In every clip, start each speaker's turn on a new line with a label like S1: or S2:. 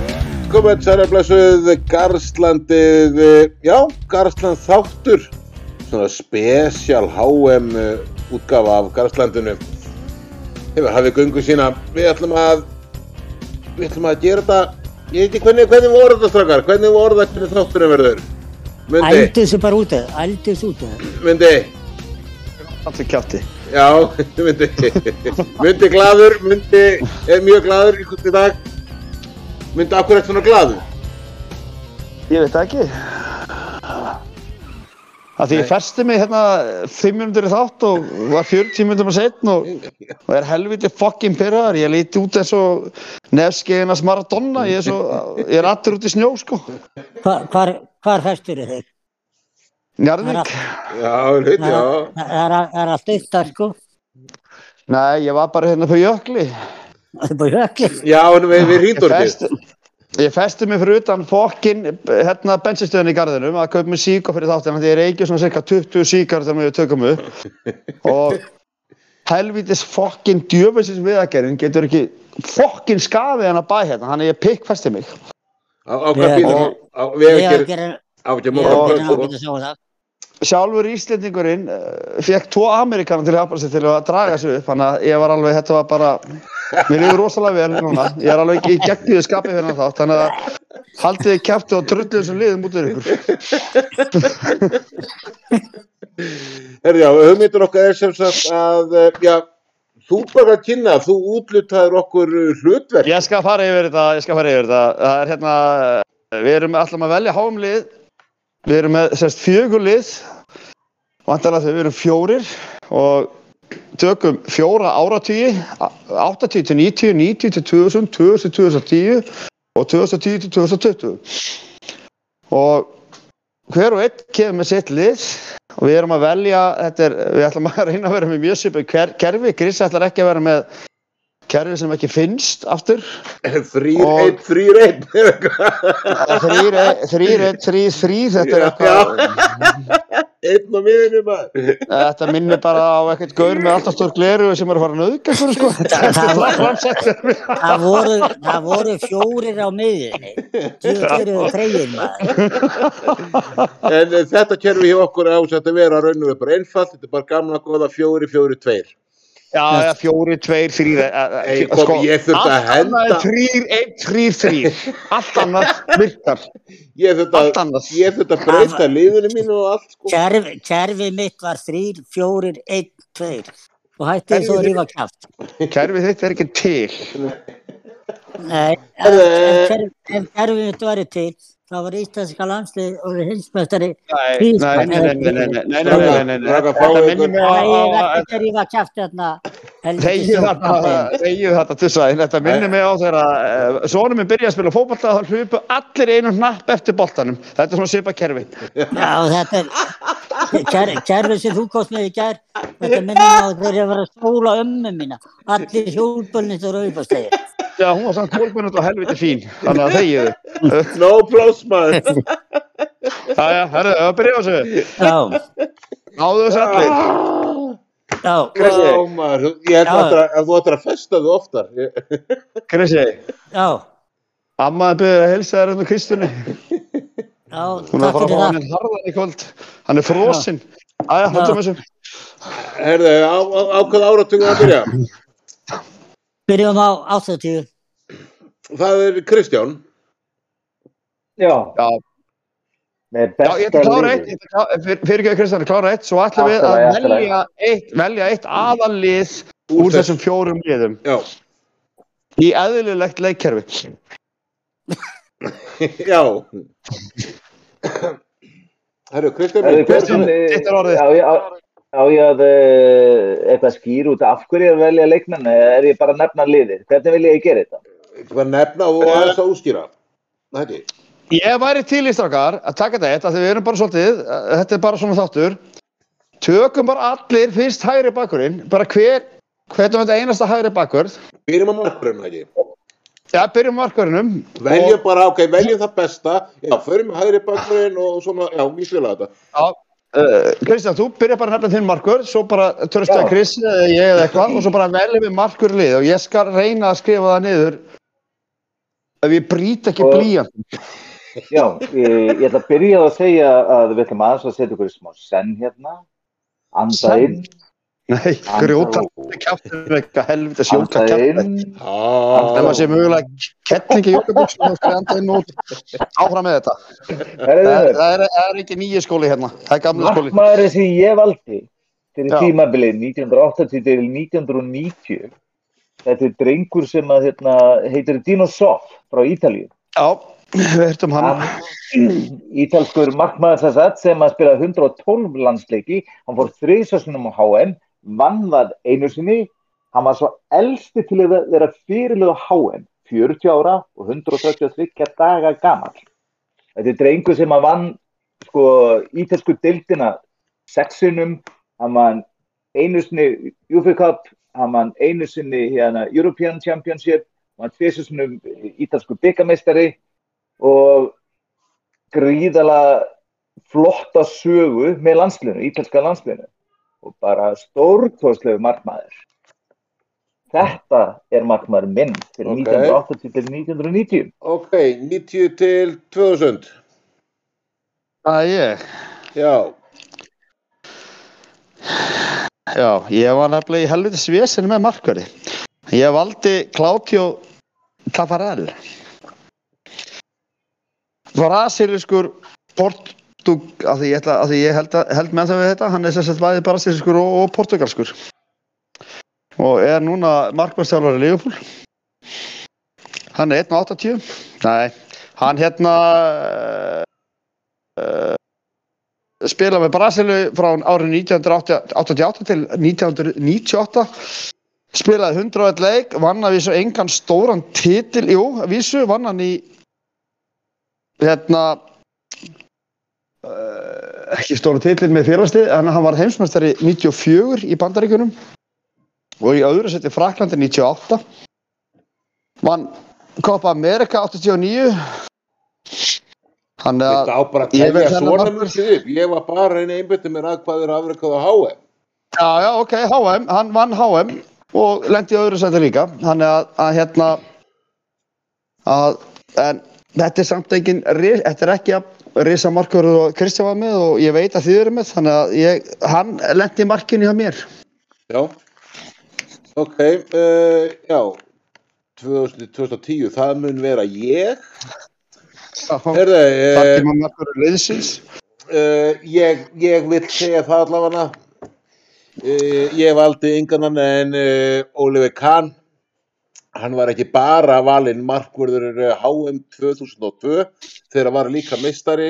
S1: Velkomin, særaflessuð, Garstlandið, já, Garstland þáttur, svona spesial HM útgafa af Garstlandinu. Hefur hafið göngu sína, við ætlum að, við ætlum að gera þetta, ég veit ekki hvernig, hvernig voru þetta strákar, hvernig voru þetta hvernig þátturinn verður? Mundi,
S2: Ældu þessu bara út að, ældu þessu út að.
S1: mundi,
S3: Alltaf kjátti.
S1: já, mundi, mundi glaður, mundi, er mjög glaður í hvernig dag, mundi, akkur eftir svona glaður?
S3: Ég veit það ekki. Að því ég festi mig hérna 5 minútur í þátt og var 40 minútur með setn og, og er helviti fokkin pyrraðar. Ég líti út eins og nefskeiðinas Maradona. Ég er, svo, ég er allur út í snjó sko.
S2: Hvar, hvar, hvar festur þeir?
S3: Njarðvík.
S1: Já, hlut,
S2: Það
S1: já.
S2: er- það er, að- það er allt eitt þar sko.
S3: Nei, ég var bara hérna på jökli.
S2: Það er bara hökli.
S1: Já, en við, við
S3: Ég
S1: rýndum
S3: festi, ég festi mig fyrir utan fokkin hérna bensinstöðin í garðinum að kaupa mig síka fyrir þáttina því ég reykja svona cirka 20 síkar þegar við tökum upp og helvítis fokkin djöfisins viðagerinn getur ekki fokkin skafið hann að bæ hérna þannig að ég pikk festi mig
S1: Á, á hvað
S2: Ég-
S1: býðum
S3: og-
S1: við?
S2: Ég
S1: Við
S2: hef gerðið,
S1: hefum ekki
S2: ég
S1: móta
S2: hef
S1: á
S2: gerðið
S1: kvöld
S2: ákveðið að sjá það.
S3: sjálfur Íslendingurinn uh, fekk tvo Amerikanar til að hjálpa sér til að draga sig upp þannig að ég var alveg, þetta var bara mér líður rosalega vel núna ég er alveg í gegniðu skapið fyrir hann þátt þannig að haldið þið kæftu og drullu þessum liðum út úr ykkur
S1: Herri, já, hugmyndur okkar er sem sagt að, eh, já, þú bara að kynna, þú útlutaður okkur eh, hlutverk.
S3: Ég skal fara yfir þetta, ég skal fara yfir þetta. Það er hérna, við erum alltaf að velja háumlið, við erum með sérst fjögurlið, vantarlega þegar við erum fjórir og tökum fjóra áratugi, á- 80 til 90, 90 til 2000, 2000 til 2010 og 2010 til 2020. Og hver og einn kemur með sitt lið og við erum að velja, þetta er, við ætlum að reyna að vera með mjög svipu kerfi, Grís ætlar ekki að vera með kerfi sem ekki finnst aftur
S1: Þrýr,
S3: Og-
S1: einn, þrýr, einn.
S3: þrýr, þrýr, þrýr, þrýr, þetta er
S1: Já,
S3: eitthvað,
S1: Einn á miðinu maður.
S3: þetta minnir bara á eitthvað gaur með alltaf stór gleru sem er að fara að nauðga ykkur, sko. Þetta er það framsett fyrir mig.
S2: Það voru, það voru fjórir á miðinni. Þú eru þreyjum maður.
S1: En eh, þetta kerfi hjá okkur ásett að vera raunum við bara einfalt, þetta er bara gamla góða fjóri, fjóri, tveir.
S3: Já, já, fjóri, tveir, þrýr,
S1: Ei, kom, ég þurfti að
S3: Allt annað
S1: henda-
S3: er þrýr, einn, þrýr, þrýr. Allt annað virkar.
S1: Ég
S3: Allt
S1: þurft að,
S3: annað.
S1: ég þurft að breyta liðinu mínu og allt, sko.
S2: Kerf, kerfið mitt var þrýr, fjórir, einn, tveir. Og hætti svo að rífa kjátt.
S3: Kerfið þitt er ekki til.
S2: Nei, ef ef kerf- ef kerfið mitt væri til, þá var íslenska landslið og hinsmestari
S3: Nei, nei, nei, nei, nei, nei, nei, nei, nei, nei, nei, nei.
S1: Raka,
S3: Þetta
S1: fáið
S3: minnir mig
S2: Nei, ég verði
S3: á- á-
S2: ekki að rífa hérna. kjátt þarna. helvítið
S3: Þegið þarna,
S2: stjórnarflokkurinn.
S3: þegið þarna tussaðinn, þetta minnir mig á þegar að sonum minn byrjaði að spila fótballta þá hlupu allir í einum hnapp eftir boltanum, þetta er svona sipa kerfi.
S2: Já, þetta er ker, kerfið sem þú kost með í gær þetta minnir mig á þegar ég var að stóla ömmu mína allir hjólbölnir og raupastegir
S3: Já, hún var samt 12 minútur og helviti fín, þannig að þegið þau.
S1: No plus maður.
S3: Já, já, herðu, það byrjaði þessu,
S2: Já,
S3: náðu þessu allir.
S2: já,
S1: Já, maður, ég held
S2: Já.
S1: að þú ættir að- að þú ættir að festa þú oftar. Ég-
S3: Krissi,
S2: já,
S3: ammaði byrjaði að helsa þér undir Kristunni,
S2: já
S3: hún
S2: takk
S3: er að fara
S2: fyrir
S3: að fá
S2: það
S3: hann inn harðan í kvöld, hann er frosinn. Æja, höndum þessu.
S1: Herðu, á, á, á hvað áratugum að byrja?
S2: Byrjum á 80
S1: Það er Kristján.
S4: Já,
S3: Já,
S4: með
S3: Já,
S4: besta
S3: ég ætla að klára eitt,
S4: liði.
S3: ég ætla að klára- fyr- fyrirgefðu Kristján, ég klára eitt, svo ætlum við að
S4: Aftur að-
S3: velja eitt, velja eitt aðallið úr þessum fjórum liðum
S1: Já,
S3: í eðlilegt leikkerfi.
S1: já. Herru, Kristján,
S4: Herðu,
S1: hver-
S3: Kristján,
S4: eh,
S3: þitt er orðið.
S4: Á ég á- á ég að eh, eitthvað skýr út af hverju ég er að velja leikmenn eða er ég bara að nefna liðið? Hvernig vil ég gera þetta?
S1: hvað nefna og aðeins að útskýra? Nei, ekki.
S3: Ég væri til í strákar að taka þetta eitt, af því við erum bara svolítið, eh, þetta er bara svona þáttur, tökum bara allir fyrst hægri bakkurinn, bara hver, hvernig var þetta einasta hægri bakkurð,
S1: Byrjum á markurinn, ekki.
S3: já, byrjum markverðinum,
S1: Veljum bara, ok, veljum það besta. Já, förum hægri bakurinn og svona, já, ég skilja þetta.
S3: Já, uh, Kristján, þú byrjar bara að nefna þinn markur, svo bara tröstu
S4: Já.
S3: að Chris eða ég eða eitthvað og svo bara veljum við markur lið og ég skal reyna að skrifa það niður ef ég brýt ekki
S4: Og-
S3: blíjan
S4: Já, ég, ég ætla að byrja á að segja að við ætlum aðeins að setja ykkur í smá senn hérna, anda
S3: Senn?
S4: inn,
S3: Nei, grjóta
S4: út.
S3: kjáftur eitthvað helvita sjóka
S4: anda
S3: kjáftur
S4: inn,
S3: Ef maður sé
S1: Á,
S3: mögulega kettningi jókaböksum og skriði anda inn út áfram með þetta. Það er,
S4: herriðu,
S3: það er, það er ekki nýja skóli hérna, það er gamla skóli.
S4: markmaðurinn sem ég valdi fyrir
S3: Já.
S4: tímabilið 1980 til 1990, þetta er drengur sem að hérna, heitir Dino Soff frá Ítalíu.
S3: Já, við hértum hann.
S4: hann, ítalskur markmaður þess að sem að spila 112 landsleiki, hann fór þriðsessunum á HM, vann það einu sinni, hann var svo elsti til að vera fyrirlega á HM, 40 ára og 133 daga gamall. Þetta er drengu sem að vann sko, ítalsku deildina sexinum, hann vann einu sinni UFA Cup, hann vann einu sinni hérna, European Championship, hann vann tviðsessunum ítalsku byggameistari, og gríðala flotta sögu með landslinu, ítalska landslinu og bara stórkoslegu markmaður. Þetta er markmaður minn fyrir
S1: Ok.
S4: 1980 til 1990.
S1: ok, 90 til 2000
S3: Það er ég.
S1: Já,
S3: Já, ég var nefnilega í helviti svesinu með markverði. Ég valdi Claudio Tafarel. Brasiliskur portug, af því ég, ætla, af því ég held, að, held með það við þetta, hann er sérstaklega bæði brasiliskur og, og portugalskur. Og er núna markverðstjálfari Leopold. Hann er 1.80. Nei, hann hérna uh, spila með Brasilu frá árið 1988 til 1998 spilaði 101 leik vann að vísu engan stóran titil jú, að vísu vann hann í hérna uh, ekki stóran titil með félagsti en hann var heimsmeistari 94 í bandaríkunum og í öðru seti Fraklandi 98 vann Copa America 89 hann
S1: þetta á bara að
S3: Ég veit
S1: tefja
S3: þennan
S1: svona
S3: markmann.
S1: mörgir upp. Ég var bara að reyna einbytti mér að hvað er afrekað á HM.
S3: Já, já, ok, HM, hann vann HM og lendi í öðru sæti líka hann er að, að hérna að, en þetta er samt engin, ri- þetta er ekki að Risa Markverður og Kristján var með og ég veit að þið eru með, þannig að ég, hann lendi í markinu hjá mér
S1: Já, ok, uh, já, 2000, 2010, það mun vera ég.
S3: Takk
S1: Herðu, uh,
S3: er maður Markverður liðsins
S1: uh, ég, ég vil segja það allavega. Uh, ég valdi yngan hann en uh, Oliver Kahn, hann var ekki bara valinn markvörður eh, HM 2002 þegar hann var líka meistari,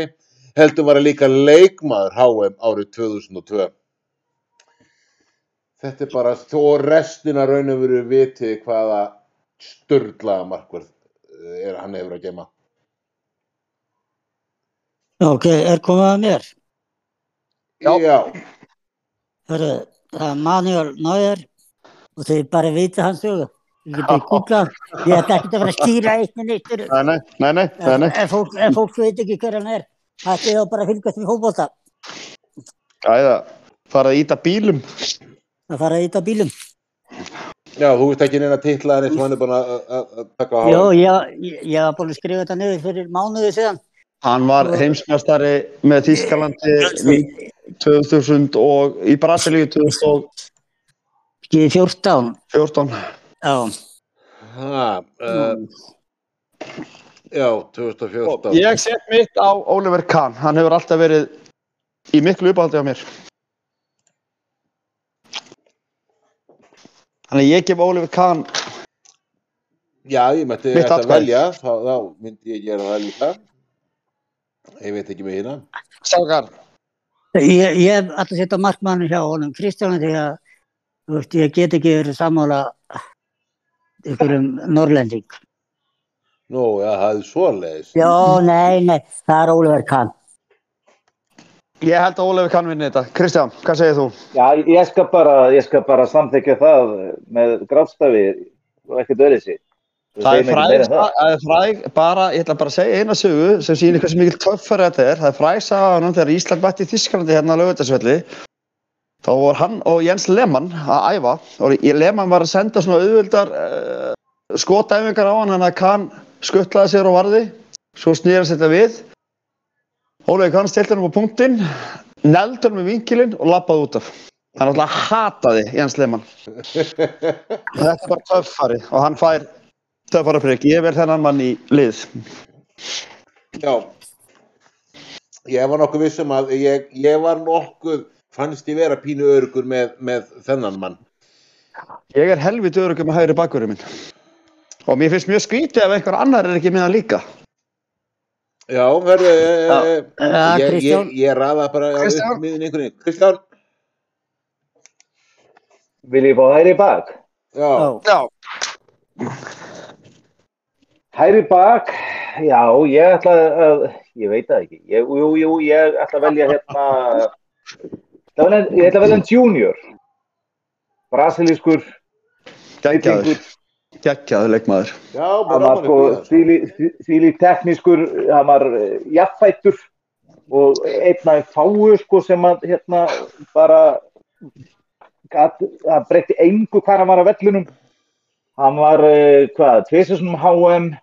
S1: heldur var hann líka leikmaður HM árið 2002. Þetta er bara þó restina raun og veru vitið hvaða störðlaða markvörð eh, er hann hefur að gema.
S2: Ok, er komið að mér?
S3: Já.
S1: Já,
S2: Hörru, það er Manuel Neuer og þið bara vitið hans sögu. Ég get ekki googlað, hann. ég ætla ekki að vera að skýra eitt en eitt.
S3: Nei, nei, nei, nei, nei, nei.
S2: Ef fólk, ef fólk veit ekki hver hann er, hætti þá bara að fylgast með hófbólta.
S3: Æða, farið að íta bílum
S2: Það fara að íta bílum.
S1: já, þú veist ekki neina titlaðan eins og hann er búin að að- að taka á
S2: Jó,
S1: HM.
S2: ég, ég, ég var búin að skrifa þetta niður fyrir mánuði síðan.
S3: Hann var heimsmeistari með Þýskalandi 2000 og í Brasilíu 2014
S2: Ég er 14. Já,
S1: Ha, uh, já, 2014.
S3: Ég set mitt á Oliver Kahn, hann hefur alltaf verið í miklu uppáhaldi á mér. Þannig að ég gef Oliver Kahn,
S1: Já, ég mætti
S3: Mitt
S1: þetta
S3: atkvæði.
S1: velja, þá, þá myndi ég gera það líka. Ég veit ekki með hérna.
S3: Ságar,
S2: Ég, ég hef alltaf sett á markmannu hjá honum Kristjánu því að þú veist, ég get ekki verið sammála ykkurum norrlending.
S1: Nú, já, það er svoleiðis.
S2: Já, nei, nei, það er Ólver Kahn.
S3: ég held að Oliver Kahn vinni þetta. Kristján, hvað segir þú?
S4: Já, ég skal bara, ég skal bara samþekja það með gráfstafi og ekkert öðru sig.
S3: Það er fræg, það er fræg, bara, ég ætla bara að segja eina sögu sem sýnir hversu mikil töffari þetta er. Það er fræg sagan þegar Ísland bætti Þískalandi hérna á lögutasvelli. Þá voru hann og Jens Lehmann að æfa og Lehmann var að senda svona auðvöldar uh, skotæfingar á eh, hann hann að kann skuttlaði sér á varði, svo snýra sér þetta við. Ólegi Kahn stilti hann upp á punktinn, neldur hann með vinkilinn og lappaði út af. Hann alltaf hataði Jens Lehmann. þetta er bara töffari og hann fær töffara prigg. Ég verð þennan mann í lið.
S1: Já, ég var nokkuð vissum að ég, ég var nokkuð, fannst ég vera pínu örugur með, með þennan mann.
S3: Ég er helviti örugum með hægri bakverið minn. Og mér finnst mjög skrítið ef einhver annar er ekki með hann líka.
S1: Já, verðu, eh,
S2: Já,
S1: ég,
S2: Kristján.
S1: ég, ég raða bara
S3: Kristján.
S1: upp miðin einhvern veginn. Kristján,
S4: Vil ég fá hæri bak?
S1: já,
S2: Já.
S3: Já.
S4: Hæri bak, já, ég ætla að, ég veit það ekki, ég, jú, jú, ég ætla að velja hérna, ætla að velja- ég ætla að velja en junior, brasilískur,
S3: Gægjaður.
S4: hryllingur.
S3: Gægjaður leikmaður.
S1: já,
S4: hann
S1: maður ráman
S4: var sko síli teknískur, hann var eh, jafnfættur og einn af þeim fáu sko sem að hérna bara gat, hann breytti engu hvað hann var á vellunum hann var eh, hvað, tviðsessum HM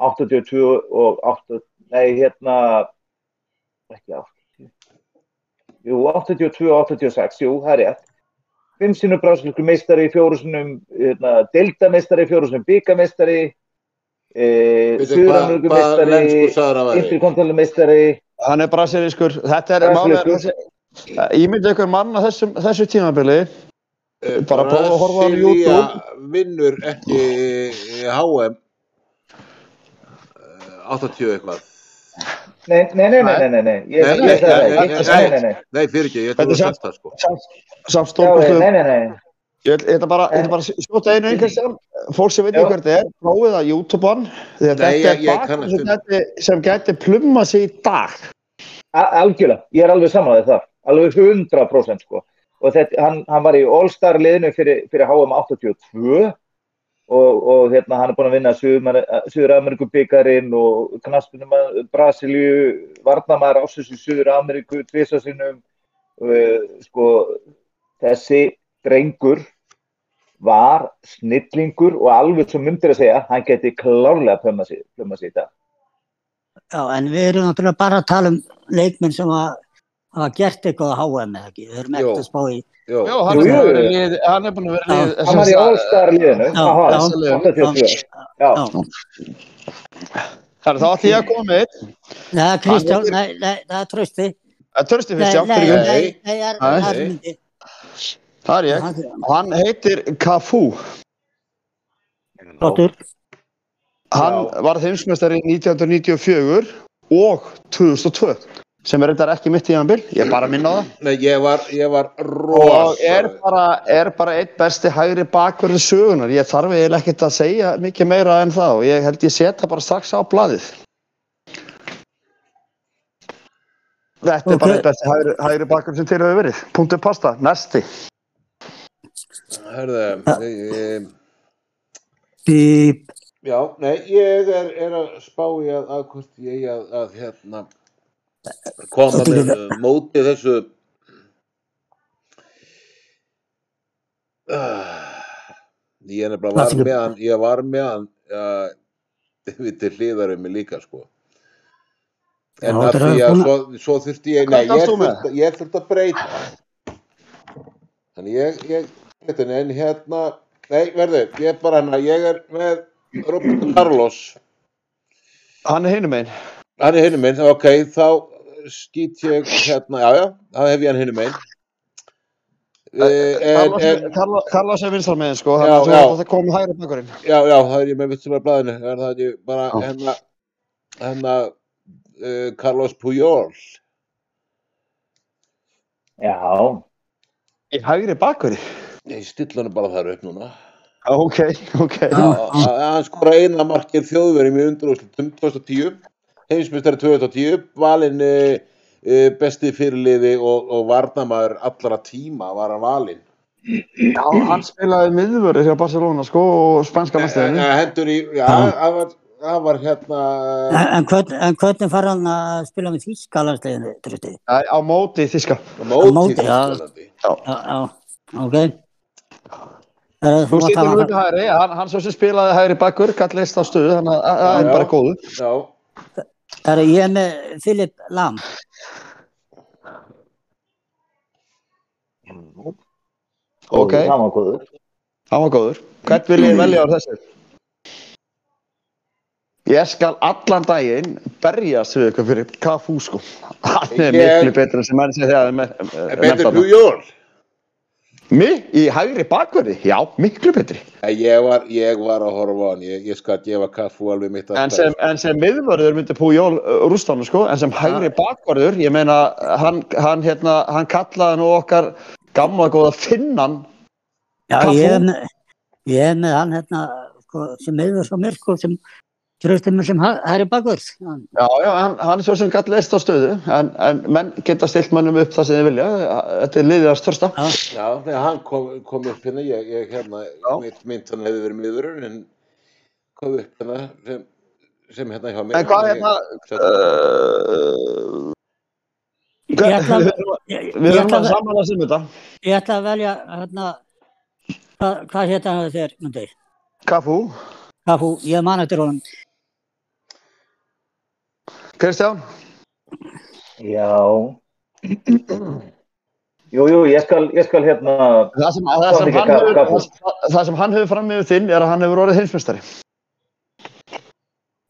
S4: 82 og 8, nei hérna ekki 80 jú, 82 og 86, jú, það er rétt fimm sinnum brásilísku meistari, fjóru sinnum hérna, deildameistari, fjóru sinnum byggameistari e,
S1: Hvað
S4: suðranurku
S1: hva lensku
S4: meistari
S1: sagður að væri?
S4: interkontalum meistari
S3: Hann er brasiliskur. Þetta er málið.
S4: Brasiliskur.
S3: þessi- Ég myndi ykkur mann á þessu, þessu tímabili. Eh, Bara prófa að horfa á hann á
S1: Brasilia
S3: YouTube.
S1: vinnur ekki eh, HM eh, 80 eitthvað.
S4: Nei, nei, nei, nei, nei, nei, nei, ég
S1: Nei, nei,
S4: ég sagði
S1: nei,
S4: það ekki,
S1: nei,
S4: nei, nei, nei,
S1: Nei, fyrir ekki, ég
S3: Þetta
S1: trúi
S3: er
S1: að
S3: samt-
S1: þetta sko.
S3: Samt
S4: Já,
S3: stórkostum.
S4: nei, nei, nei,
S3: Ég ætl- ég ætla bara, ég ætla bara að skjóta einu einhversján, fólk sem veit
S4: Já.
S3: ekki hvað þetta er, prófið að YouTube-an, því að
S1: Nei,
S3: þetta
S1: ég- ég
S3: er
S1: kannast
S3: bakgrunn sem,
S1: við-
S3: gæti- sem gæti plumma sig í dag.
S4: A- algjörlega, ég er alveg saman það, alveg 100% sko, og þetta, hann, hann var í All-Star liðinu fyrir, fyrir HM 82 og, og hérna, hann er búin að vinna Suður-Ameríku byggarinn og knaspunum að Brasilíu, Varnamæður ásins í Suður-Ameríku, tvisa sinnum, uh, sko, þessi drengur var snillingur og alveg svo myndir að segja, hann geti klárlega plöma sig, plöma sig í dag.
S2: Já, en við erum náttúrulega bara að tala um leikmenn sem að hafa gert eitthvað á HM eða ekki. Við erum
S1: Jú.
S2: ekkert að spá í...
S1: Jó,
S3: Já, hann
S4: Jú,
S3: er búin
S4: jú.
S3: að vera í lið- hann er búin að vera í lið-
S4: Hann var í All-Star liðinu,
S2: Já,
S4: á
S2: já.
S4: HM, 82. Já,
S2: Já.
S3: Það er þá allir ég að koma með eitt.
S2: Nei, Kristján, nei, nei, það er trösti.
S3: Það er törstu
S2: Nei,
S3: fyrst, já,
S2: nei,
S3: fyrir
S1: ekki.
S2: nei, nei, það er-
S3: Nei.
S2: það er myndi.
S3: Það er ég. Hann heitir Cafu.
S2: Flottur.
S3: Hann
S1: Já.
S3: var heimsmeistari 1994 og 2002, sem er þetta ekki mitt tímabil, ég er bara að minna á það.
S1: Nei, ég var, ég var
S3: og er
S1: rosa.
S3: bara, er bara einn besti hægri bakverður sögunar ég þarf eiginlega ekkert að segja mikið meira en það og ég held ég setja bara strax á blaðið Þetta er
S2: Ok.
S3: bara einn besti hægri, hægri bakverður sem til hefur verið punktur pasta, næsti
S1: Herðu, ég- ég-
S2: Bíp.
S1: já, nei, ég er, er að spá í að, að hvort ég eigi að, að hérna koma
S2: Þetta er
S1: með uh, móti þessu Ah, Ég er nefnilega var
S2: Hvað fyrir-
S1: með hann, ég var með hann uh, við til hliðarum mig líka sko En
S2: Já,
S1: að
S2: þetta er
S1: því að
S2: búin-
S1: svo, svo þurfti ég,
S3: Hvað
S1: nei, ég
S3: gafst þú með?
S1: þurfti, ég þurfti að breyta Þannig ég, ég, þetta er- en hérna, nei, verður, ég er bara hann að ég er með Robert Carlos
S3: Hann er hinum einn
S1: Hann er hinum minn, ok, þá skýt ég hérna, já, já, þá hef ég hann hinum minn En, en,
S3: Carlos er vinstar með sko,
S1: Já,
S3: þannig að
S1: já.
S3: þú- þetta kom með hægri bakverðin
S1: já, já, það er ég með vittulega blaðinu, það er það ég bara
S3: Já.
S1: hérna, hérna, uh, Carlos Puyol,
S4: já.
S3: í hægri bakverði
S1: ég stilla hann bara þar upp núna.
S3: ok, ok
S2: Já.
S1: að að hann skora eina markið þjóðverjum í undanúrslitum 2010 heimsmyndstari 2010 valinn e, e, besti fyrirliði og, og varnamaður allra tíma var hann valinn
S3: Já, hann spilaði miðvörður hjá Barcelona sko og spænska
S1: Eh,
S3: mestæðinu
S1: eh, hendur í, já,
S2: Já.
S1: hann var, hann var hérna
S2: En, en, hvern, en hvernig fara hann að spila með Þýskalandsleginu, trösti?
S3: á móti þíska
S1: á móti
S2: móti, já.
S1: Þýskalandi
S2: Já, já, ok. Eh,
S3: Þú
S2: þú mátt
S3: situr nú hérna.
S2: hafa-
S3: upp í hægri, hann, hann svo sem spilaði hægri bakkur, gall leist á stöðu, þannig að- að það
S1: Já.
S3: er bara góðu.
S1: Já,
S2: Það er ég er með Filip Lam.
S3: Ok,
S4: Það var góður.
S3: hann var góður. Hvern vil ég velja á þessu? Ég skal allan daginn berjast við ykkur fyrir Cafú sko. Hann er
S1: Ég-
S3: miklu betur en sem menn sem þegar er með-
S1: er
S3: með-
S1: betur
S3: með-
S1: hljújól
S3: Mig í hægri bakverði, já, miklu betri.
S1: Eh, ég var, ég var að horfa á hann ég, ég skal gefa kaffu alveg mitt
S3: En sem, en sem miðvörður myndi Pújól rústánu sko, en sem hægri bakvörður, ég meina, hann, hann, hérna, hann kallaði nú okkar gamla góða finnan
S2: Já,
S3: Hvað
S2: ég er
S3: þú-
S2: með, ég er með hann hérna, sko, sem yfir svo mér, sko, sem tröstum mér sem hæ- hægri bakvörð. Hann-
S3: Já, já, hann, hann er svo sem gæti leist á stöðu en, en menn geta stilt mönnum upp það sem þið vilja þetta er liðið að största
S2: Já.
S1: Já, þegar hann kom, kom upp hérna ég, ég hérna, mitt mynd hann hefði verið miðurinn en kom upp hérna sem, sem hérna hjá mér
S3: En hvað hérna uh,
S2: Ég ætla,
S3: Við
S2: ég, ég,
S3: við erum
S2: ætla,
S3: að saman að sem um þetta
S2: ég ætla að velja, hérna, hvað, hvað hérna hann þegar, myndi,
S3: Kafú,
S2: Kafu, ég man eftir honum.
S3: Kristján
S4: Já. Jú, jú, ég skal, ég skal hérna,
S3: Það sem, það sem, hann, hefur, það, það sem hann hefur fram með þinn er að hann hefur orðið heimsmyndstari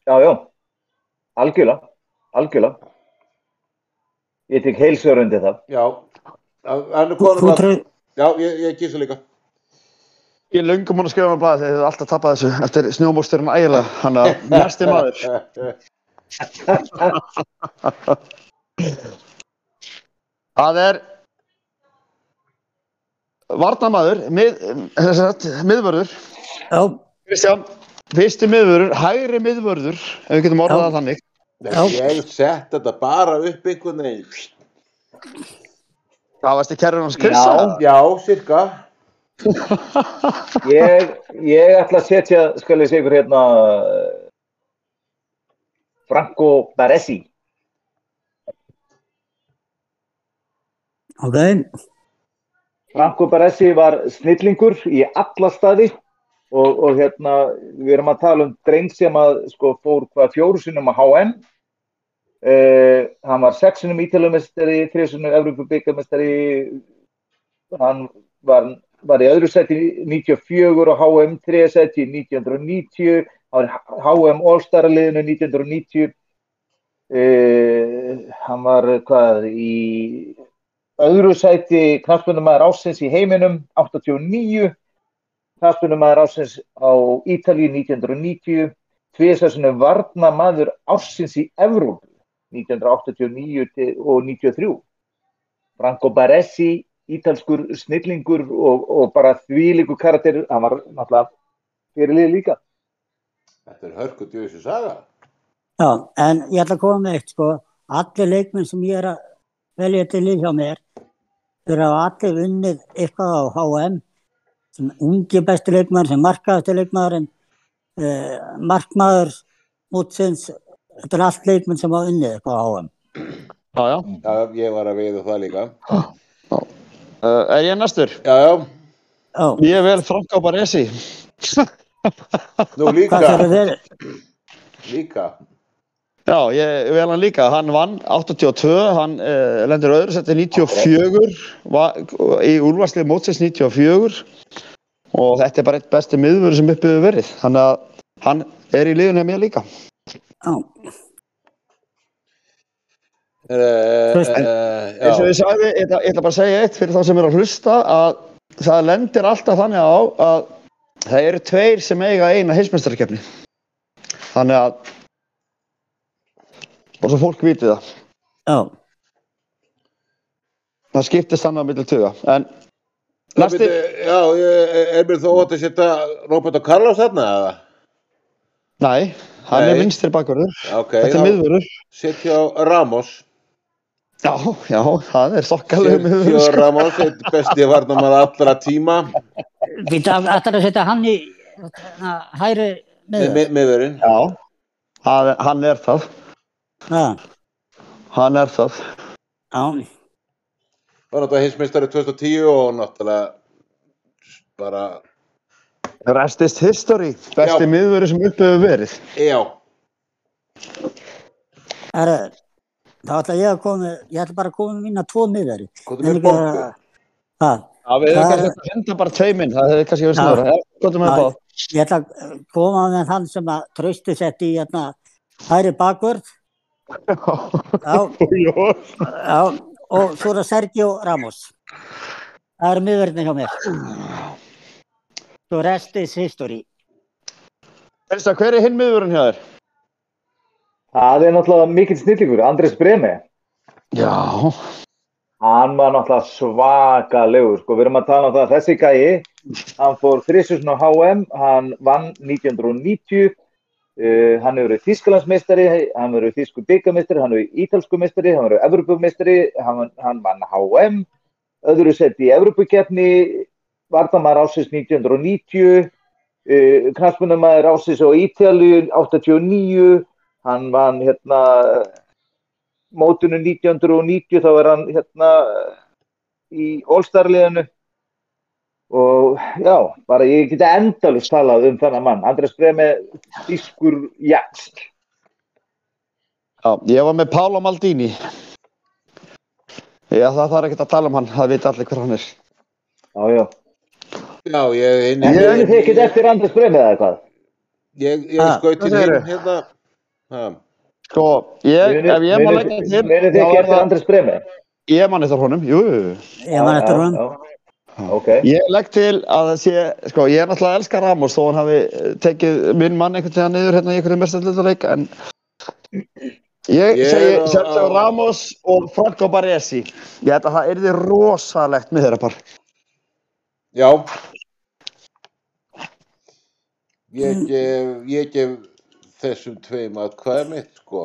S4: já, já, algjörlega, algjörlega. Ég tek heilsörundi það.
S1: Já, að- hann er
S2: Þú,
S1: konum
S2: þú
S1: að
S2: trö,
S1: Já, ég, ég gísa líka
S3: Ég er löngum hún að skrifa um að blaða þegar þið alltaf tappa þessu eftir snjómósturinn ægilega hann að næsti maður Það er Varnamaður, mið, eh, sem sagt, miðvörður
S2: já,
S3: Kristján, fyrsti miðvörður, hægri miðvörður, ef við getum orðað
S2: Já.
S3: það þannig.
S1: Nei, Ég sett þetta bara upp einhvern veginn
S3: Það varst í kerrið hans Krissa.
S1: Já, sirka
S4: Ég, ég ætla að setja, skal ég segja ykkur hérna, eh, Franco Baresi.
S2: ok,
S4: Franco Baresi var snillingur í alla staði og, og hérna, við erum að tala um dreng sem að sko, fór hvað fjóru sinnum á HM. Uh, hann var sexunum ítalumestari, þrísunum Evropabyggamestari, hann var, var í öðru seti 94 á HM, þriða seti 1990, hann var í HM All-Star-liðinu 1990, uh, hann var hvað í öðru sæti knallbundumæður ásins í heiminum 89 knallbundumæður ásins á Ítalíu 1990 tviðsessunum varnamaður ásins í Evrópu 1989 til- og 93 Franco Baresi ítalskur snillingur og, og bara þvílíku karakter hann var náttúrulega fyrirlið líka
S1: Þetta er hörku djöfis í saga
S2: já, en ég ætla að koma með eitt, sko, allir leikmenn sem ég er að velja til lið hjá mér, þeir hafa allir unnið eitthvað á HM, sem ungi bestu leikmaður, sem markaðustu leikmaðurinn, uh, markmaður, mútsins, þetta er allt leikmenn sem hafa unnið eitthvað á HM.
S3: Já, já.
S1: Já, Mm. ég var að veiða það líka
S3: Uh, er ég næstur?
S1: Já, já,
S2: Já,
S3: Ég vel Frank Baresi.
S1: nú
S2: hvað
S1: líka
S2: þeir eru verið?
S1: Líka
S3: Já, ég vel hann líka. Hann vann 82, hann uh, lendir öðru seti 94, va, í úrvarslið mótsins 94 og þetta er bara eitt besti miðvörður sem uppið hefur verið. Þannig að hann er í liðunni mér líka.
S2: Já,
S1: Eh, eh,
S2: Trausti.
S1: eh,
S3: eins og
S1: já.
S3: ég sagði, ég ætla, ég ætla bara að segja eitt fyrir þá sem eru að hlusta að það lendir alltaf þannig á að það eru tveir sem eiga eina heilsmestarkefni þannig að og svo fólk viti það
S2: já,
S3: það skiptist þannig á milli tuga en
S1: Næsti...
S3: næsti,
S1: Já, ég- er mér þó ótt að setja Róbert og Carlos þarna eða?
S3: nei, hann
S1: Nei.
S3: er vinstir bakverður
S1: Ok,
S3: þetta er
S1: þá
S3: miðvörður
S1: setja á Ramos
S3: já, já, það er sokkalegu
S1: Sergio
S3: miðvörður sko.
S1: Ramos, einn besti varnamar allra tíma
S2: við ætlar að setja hann í hérna, na, hæri
S1: með
S2: með
S1: með- miðurinn
S3: já, hann er- hann er það
S2: Já,
S3: hann er það
S2: já,
S1: var náttúrulega hinsmeistari 2010 og náttúrulega bara
S3: Restist history, besti
S1: Já.
S3: miðvöru sem upp hefur verið.
S1: Já,
S2: Herru, þá ætla ég að koma, með- ég ætla bara að koma með mína tvo miðari.
S1: hvað er með bóku?
S2: Það,
S3: Já, við hefum
S2: Það-
S3: kannski átt að henda bara tveiminn, það hefði kannski verið
S2: Já.
S3: snurra. Gotum við
S2: Já.
S3: báð.
S2: ég ætla að koma með þann sem að trösti setti í hérna hæri bakvörð. Já,
S3: Jó.
S2: já, og svo er það Sergio Ramos. Það eru miðverðin hjá mér. Svo rest is history.
S3: Elsa, hver er hinn miðvörun hjá þér?
S4: Það er náttúrulega mikill snillingur, Andrés Bremi.
S3: Já.
S4: Hann var náttúrulega svakalegur, sko, við erum að tala um það að þessi gæi, hann fór þrissusun á HM, hann vann 1990, uh, hann hefur verið Þískalandsmeistari, hann hefur verið Þísku byggamestari, hann hefur verið Ítalsku meistari, hann hefur verið Evropumestari, hann, hann vann HM, öðru sett í Evropukefni, Vardamar ásins 1990, uh, knallspunumæður ásins á Ítalju 89, hann vann hérna mótinu 1990 þá er hann hérna í All-Star-liðinu og já, bara ég geta endalust talað um þennan mann Andrés Bremi, Þískur Jaksl
S3: Já, ég var með Pála Maldini. Já, það þarf ekkert að tala um hann, það veit allir hver hann er.
S4: Já, já,
S1: Já, ég hinn
S4: en munið þið ekkert eftir Andrés Bremi eða eitthvað?
S1: Ég, ég
S2: Ha,
S1: skaut
S3: hvað
S1: hinn
S3: segirðu?
S1: inn hérna. Ha,
S3: Sko, ég, ef ég má
S4: Munið-
S3: leggja til,
S4: munið þið
S3: þá
S4: ekki
S3: er
S4: eftir
S3: það,
S4: Andrés Bremi?
S3: ég man eftir honum, jú, jú, jú.
S2: Ég man eftir honum.
S4: Ok,
S3: Ég legg til að það sé, sko, ég er náttúrulega að elska Ramos þó hann hafi eh, tekið minn mann einhvern tíðan niður hérna í einhvern mestallitaðleik en ég
S1: Ég er
S3: segi
S1: á-
S3: Sergio
S1: á-
S3: Ramos og Franco Baresi ég held að það yrði rosalegt með þeirra par
S1: já.
S2: Mm.
S1: Ég gef, ég gef þessum tveim að hvað er mitt, sko.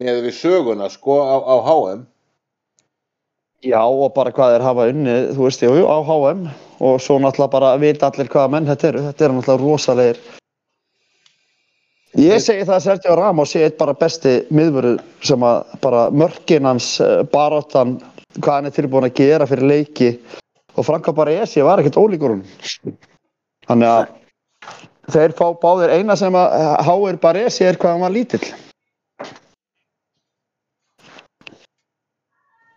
S1: Með við söguna, sko, á, á HM.
S3: Já og bara hvað þeir hafa unnið, þú veist, jú, jú, á HM og svo náttúrulega bara vita allir hvaða menn þetta eru, þetta eru náttúrulega rosalegir Ég segi það að Sergio Ramos sé eitt bara besti miðvöru sem að bara mörkin hans, eh, baráttan, hvað hann er tilbúin að gera fyrir leiki og Franka Baresi var ekkert ólíkur hún. Þannig að þeir fá báðir eina sem að eh, háir Baresi er hvað hann var lítill.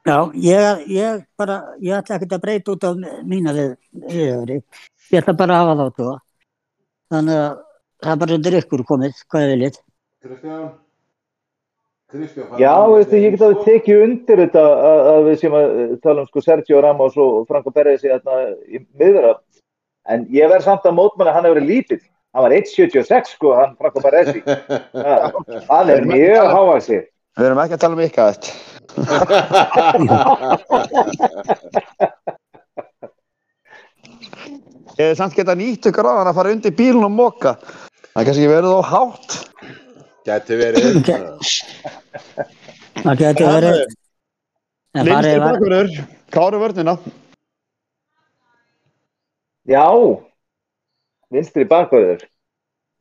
S2: Já, ég, ég bara, ég ætla ekkert að breyta út af mína við, viðhöfri. Ég ætla bara að hafa þá tvo. Þannig að það er bara undir ykkur komið, hvað ég viljið.
S1: Kristján? Kristján?
S4: já, veistu, ég get að við tekið undir þetta að, að við séum að tala um sko Sergio Ramos og Franco Perez í þarna í miðvera en ég verð samt að mótmæla að hann hefur verið lítill hann var 1.76 sko, hann Franco Perez Já, hann er mjög hávaxið
S3: Við erum ekki að tala um ykkar þetta. Ég hef samt geta nýtt ykkur á hann að fara undir bílun og moka. Það er kannski verið þó hátt.
S1: Gæti verið. hérna.
S2: Það getur verið. En
S3: Lindstur
S2: farið var,
S3: bakurur, Kári vörnina.
S4: Já, vinstri bakvörður.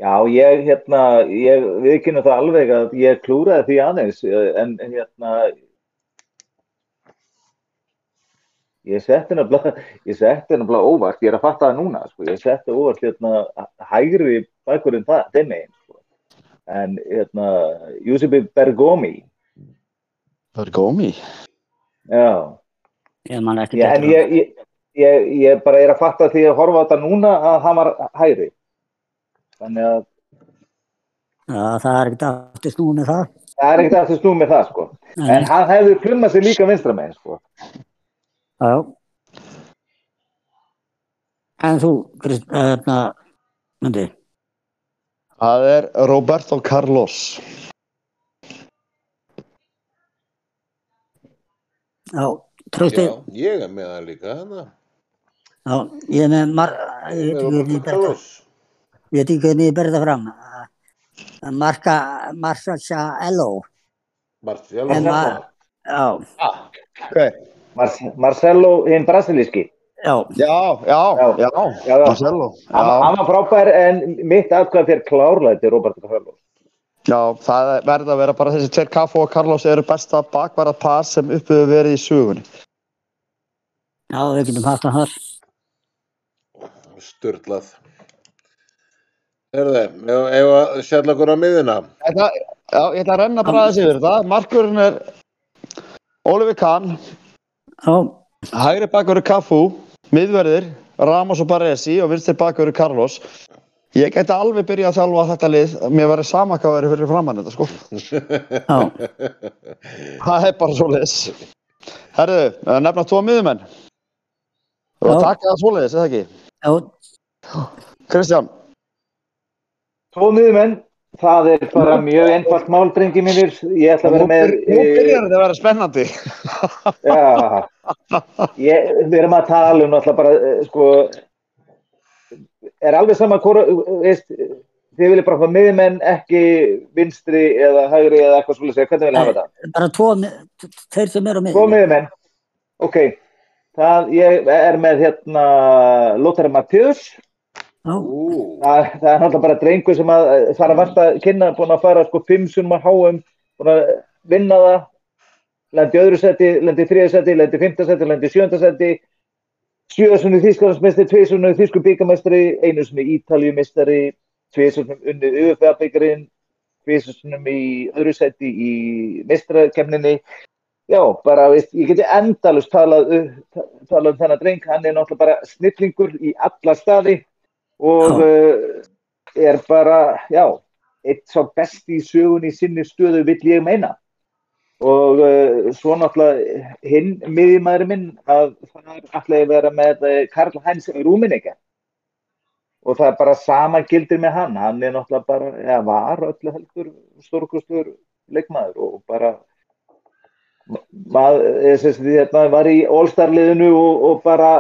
S4: Já, ég, hérna, ég viðkynna það alveg að ég klúraði því aðeins, eh, en, en hérna, ég setti nefnilega, ég setti nefnilega óvart, ég er að fatta það núna, sko, ég setti óvart, hérna, hægri bakvörðin það, þeim megin, sko. En, hérna, Jusipi Bergomi,
S3: Það er gómi.
S4: já.
S2: ég man ekki
S4: Já, en
S2: betur.
S4: ég, ég, ég, ég bara er að fatta því að horfa á þetta núna að hann var hægri. Þannig að
S2: Já, það er ekkert aftur snúið með það.
S4: það er ekkert aftur snúð með það, sko. En
S2: En,
S4: hann hefði klummað sér líka vinstra megin, sko.
S2: já. En þú, Krist, hérna, myndi,
S3: Það er Roberto Carlos.
S2: já, trösti,
S1: Já, ég er með hann líka hana.
S2: já, ég er með mar, Eh, ég
S1: Með
S2: veit ekki hvernig
S1: Roberto
S2: ég ber það,
S1: Carlos.
S2: ég veit ekki hvernig ég ber það fram. Eh, Marka, Marsa Sjæló,
S1: Marcial
S2: En
S1: Roberto.
S2: já,
S3: Hver?
S4: Mar Marcelo, hinn brasilíski.
S2: já,
S3: Já, já, já.
S4: Já. Já, já.
S3: Marcelo.
S4: Hann,
S3: Já,
S4: hann var frábær en mitt aðkvæð fyrir klárlæti Robert Carlos.
S3: já, það er- verður að vera bara þessi tveir Cafu og Carlos eru besta bakvara par sem uppiðu verið í sugunni.
S2: já, við getum haft það þar.
S1: Sturlað Herði, ef, ef að sjálf okkur á miðina
S3: Þetta, já, ég ætla að renna bara aðeins yfir þetta. Markurinn er Oliver Kahn,
S2: Já,
S3: hægri bakur er Cafu, miðverðir, Ramos og Baresi og vinstri bakur er Carlos. Ég gæti alveg byrjað að þjálfa þetta lið, mér verið sama hvað verið fyrir framann þetta sko.
S2: já,
S3: Það er bara svo leiðis. Herðu, að nefna tvo miðumenn. Og
S2: Já.
S3: taka það svo leiðis, eða ekki?
S2: já,
S3: Kristján,
S4: Tvo miðumenn, það er bara mjög einfalt mál, drengi mínir. Ég ætla að vera með... eh,
S3: nú byrjar þetta að vera spennandi.
S4: Já, ég, við erum að tala um náttúrulega bara, eh, sko, er alveg sama hvora, eh, veist, þið viljið bara hafa miðmenn, ekki vinstri eða hægri eða eitthvað svolítið segja, hvernig viljið hafa þetta?
S2: bara tvo, mi- t- þeir sem eru á
S4: Tvo
S2: miðjunni.
S4: miðmenn, ok, það, ég er með hérna Lótari Mattius,
S2: Já,
S1: Ú,
S4: það, það er náttúrulega bara drengu sem að eh, fara vart að kynna, búin að fara sko fimm sunnum að háum, búin að vinna það, lendi í öðru seti, lendi í þriða seti, lendi í fymta seti, lendi í sjönda seti, sjö sunnum þýskalandsmeistri, tvei sunnum þýsku byggamestri, einu sunnum ítaljumestari, tvei sunnum unnið UFA-byggarinn, tvei sunnum í öðru seti í mestrakemninni, Já, bara, veist, ég geti endalust talað, uh, talað um þennan dreng, hann er náttúrulega bara snillingur í alla staði og
S2: Já.
S4: uh, er bara, já, eitt sá besti í sögun í sinni stöðu vill ég meina. Og uh, svo náttúrulega hinn miðjumæður minn að það er alltaf að vera með uh, Karl Heinz Rúmeninga. Og það er bara sama gildir með hann, hann er náttúrulega bara, já, var öllu heldur stórkustur leikmaður og bara ma- maður, eh, sem sagt, hérna, var í All-Star-liðinu og, og bara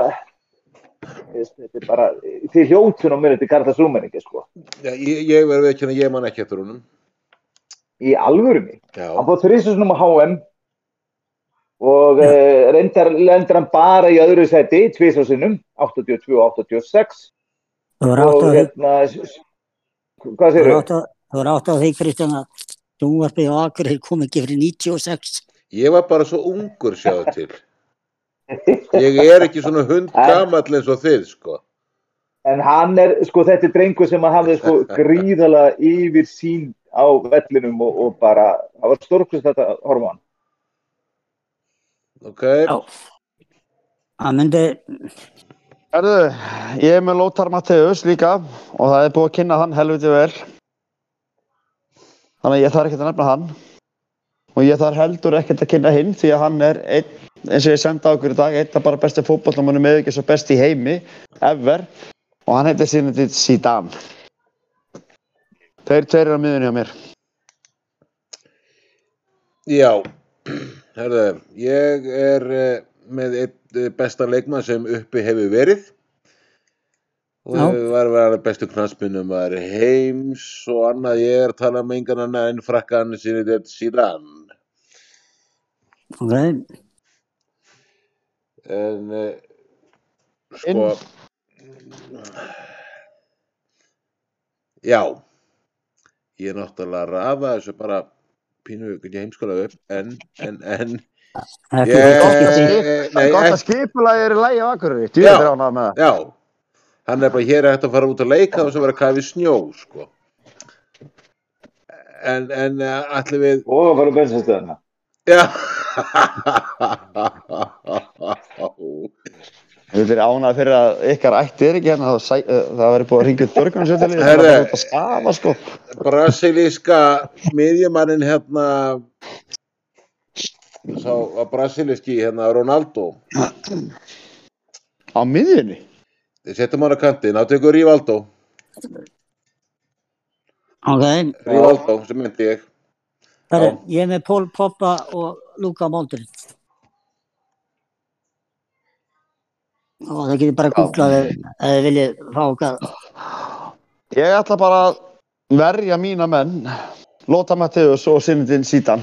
S4: veist, þetta er bara því hljótun á mér þetta er Garðars Rúmeningi sko
S1: já, ég, ég verði ekki að ég man ekki eftir honum
S4: í alvörunni,
S1: Já,
S4: hann fór þrísusnum á HM og uh, reyndar lendur hann bara í öðru seti tvísásinnum, 82 og 86
S2: þú voru átt á
S4: og
S2: því,
S4: hérna s- s- hvað
S2: þú
S4: segir
S2: voru átt á, þú voru átt á því, Kristján, að Dúnvarpið og Akureyri kom ekki fyrir 96.
S1: ég var bara svo ungur sjáðu til Ég er ekki svona hundgamall eins og þið, sko
S4: En hann er, sko, þetta er drengur sem að hafði sko gríðala yfir sín á vellinum og, og bara, það var stórkvist þetta að horfa á hann.
S1: Ok,
S2: Já. Það myndi,
S3: Herðu, ég er með Lótar Matteus líka og það er búið að kynna hann helviti vel. Þannig að ég þarf ekkert að nefna hann. Og ég þarf heldur ekkert að kynna hinn því að hann er einn, eins og ég senda okkur í dag, einn af bara bestu fótballmannum eða ekki svo best í heimi, ever. Og hann heitir síðan til Sídan. Þeir tveir eru á miðunni á mér.
S1: Já, herðu, ég er eh, með eitt eh, besta leikmann sem uppi hefur verið og
S2: Já.
S1: hefur var verið bestu knaspunum var heims og annað ég er að tala um engan annað en frakkan sinni þetta síðan
S2: ok,
S1: en eh, sko
S3: Inn.
S1: Já ég er náttúrulega að rafa þessu bara pínu ekki heimskóla upp en, en, en
S2: ekki
S1: Ég-
S2: fyrir
S3: að
S2: ekki.
S3: skip-
S1: eh,
S3: Það
S1: nei,
S3: er gott
S1: ekki-
S3: að skipulagi er í lægi á Akureyri. Þú
S1: Já.
S3: er ánað með það.
S1: Já, hann er bara hér eftir að fara út að leika og svo vera að kafa í snjó, sko. En, en eh, ætlum við,
S4: Og að fara um bensinstöðuna.
S1: já,
S3: Við erum ánað fyrir að ykkar ætti er ekki hérna, þá sæ- eh, það verður búið að ringja upp börgunarsveitalið, það
S1: Herre.
S3: verður búið að skafa sko.
S1: brasilíska miðjumannin hérna, sá að brasilíski hérna Ronaldo,
S3: Á miðjunni?
S1: við setjum hann á kantinn, átöku Rívaldo,
S2: Ok,
S1: Rívaldo sem myndi ég.
S2: Herri,
S1: Já.
S2: ég er með Pól Poppa og Luka Modric og það getur bara að googla þau ef þið viljið fá okkar
S3: Ég ætla bara að verja mína menn, Lóta Matteus og Sinndin Sítan.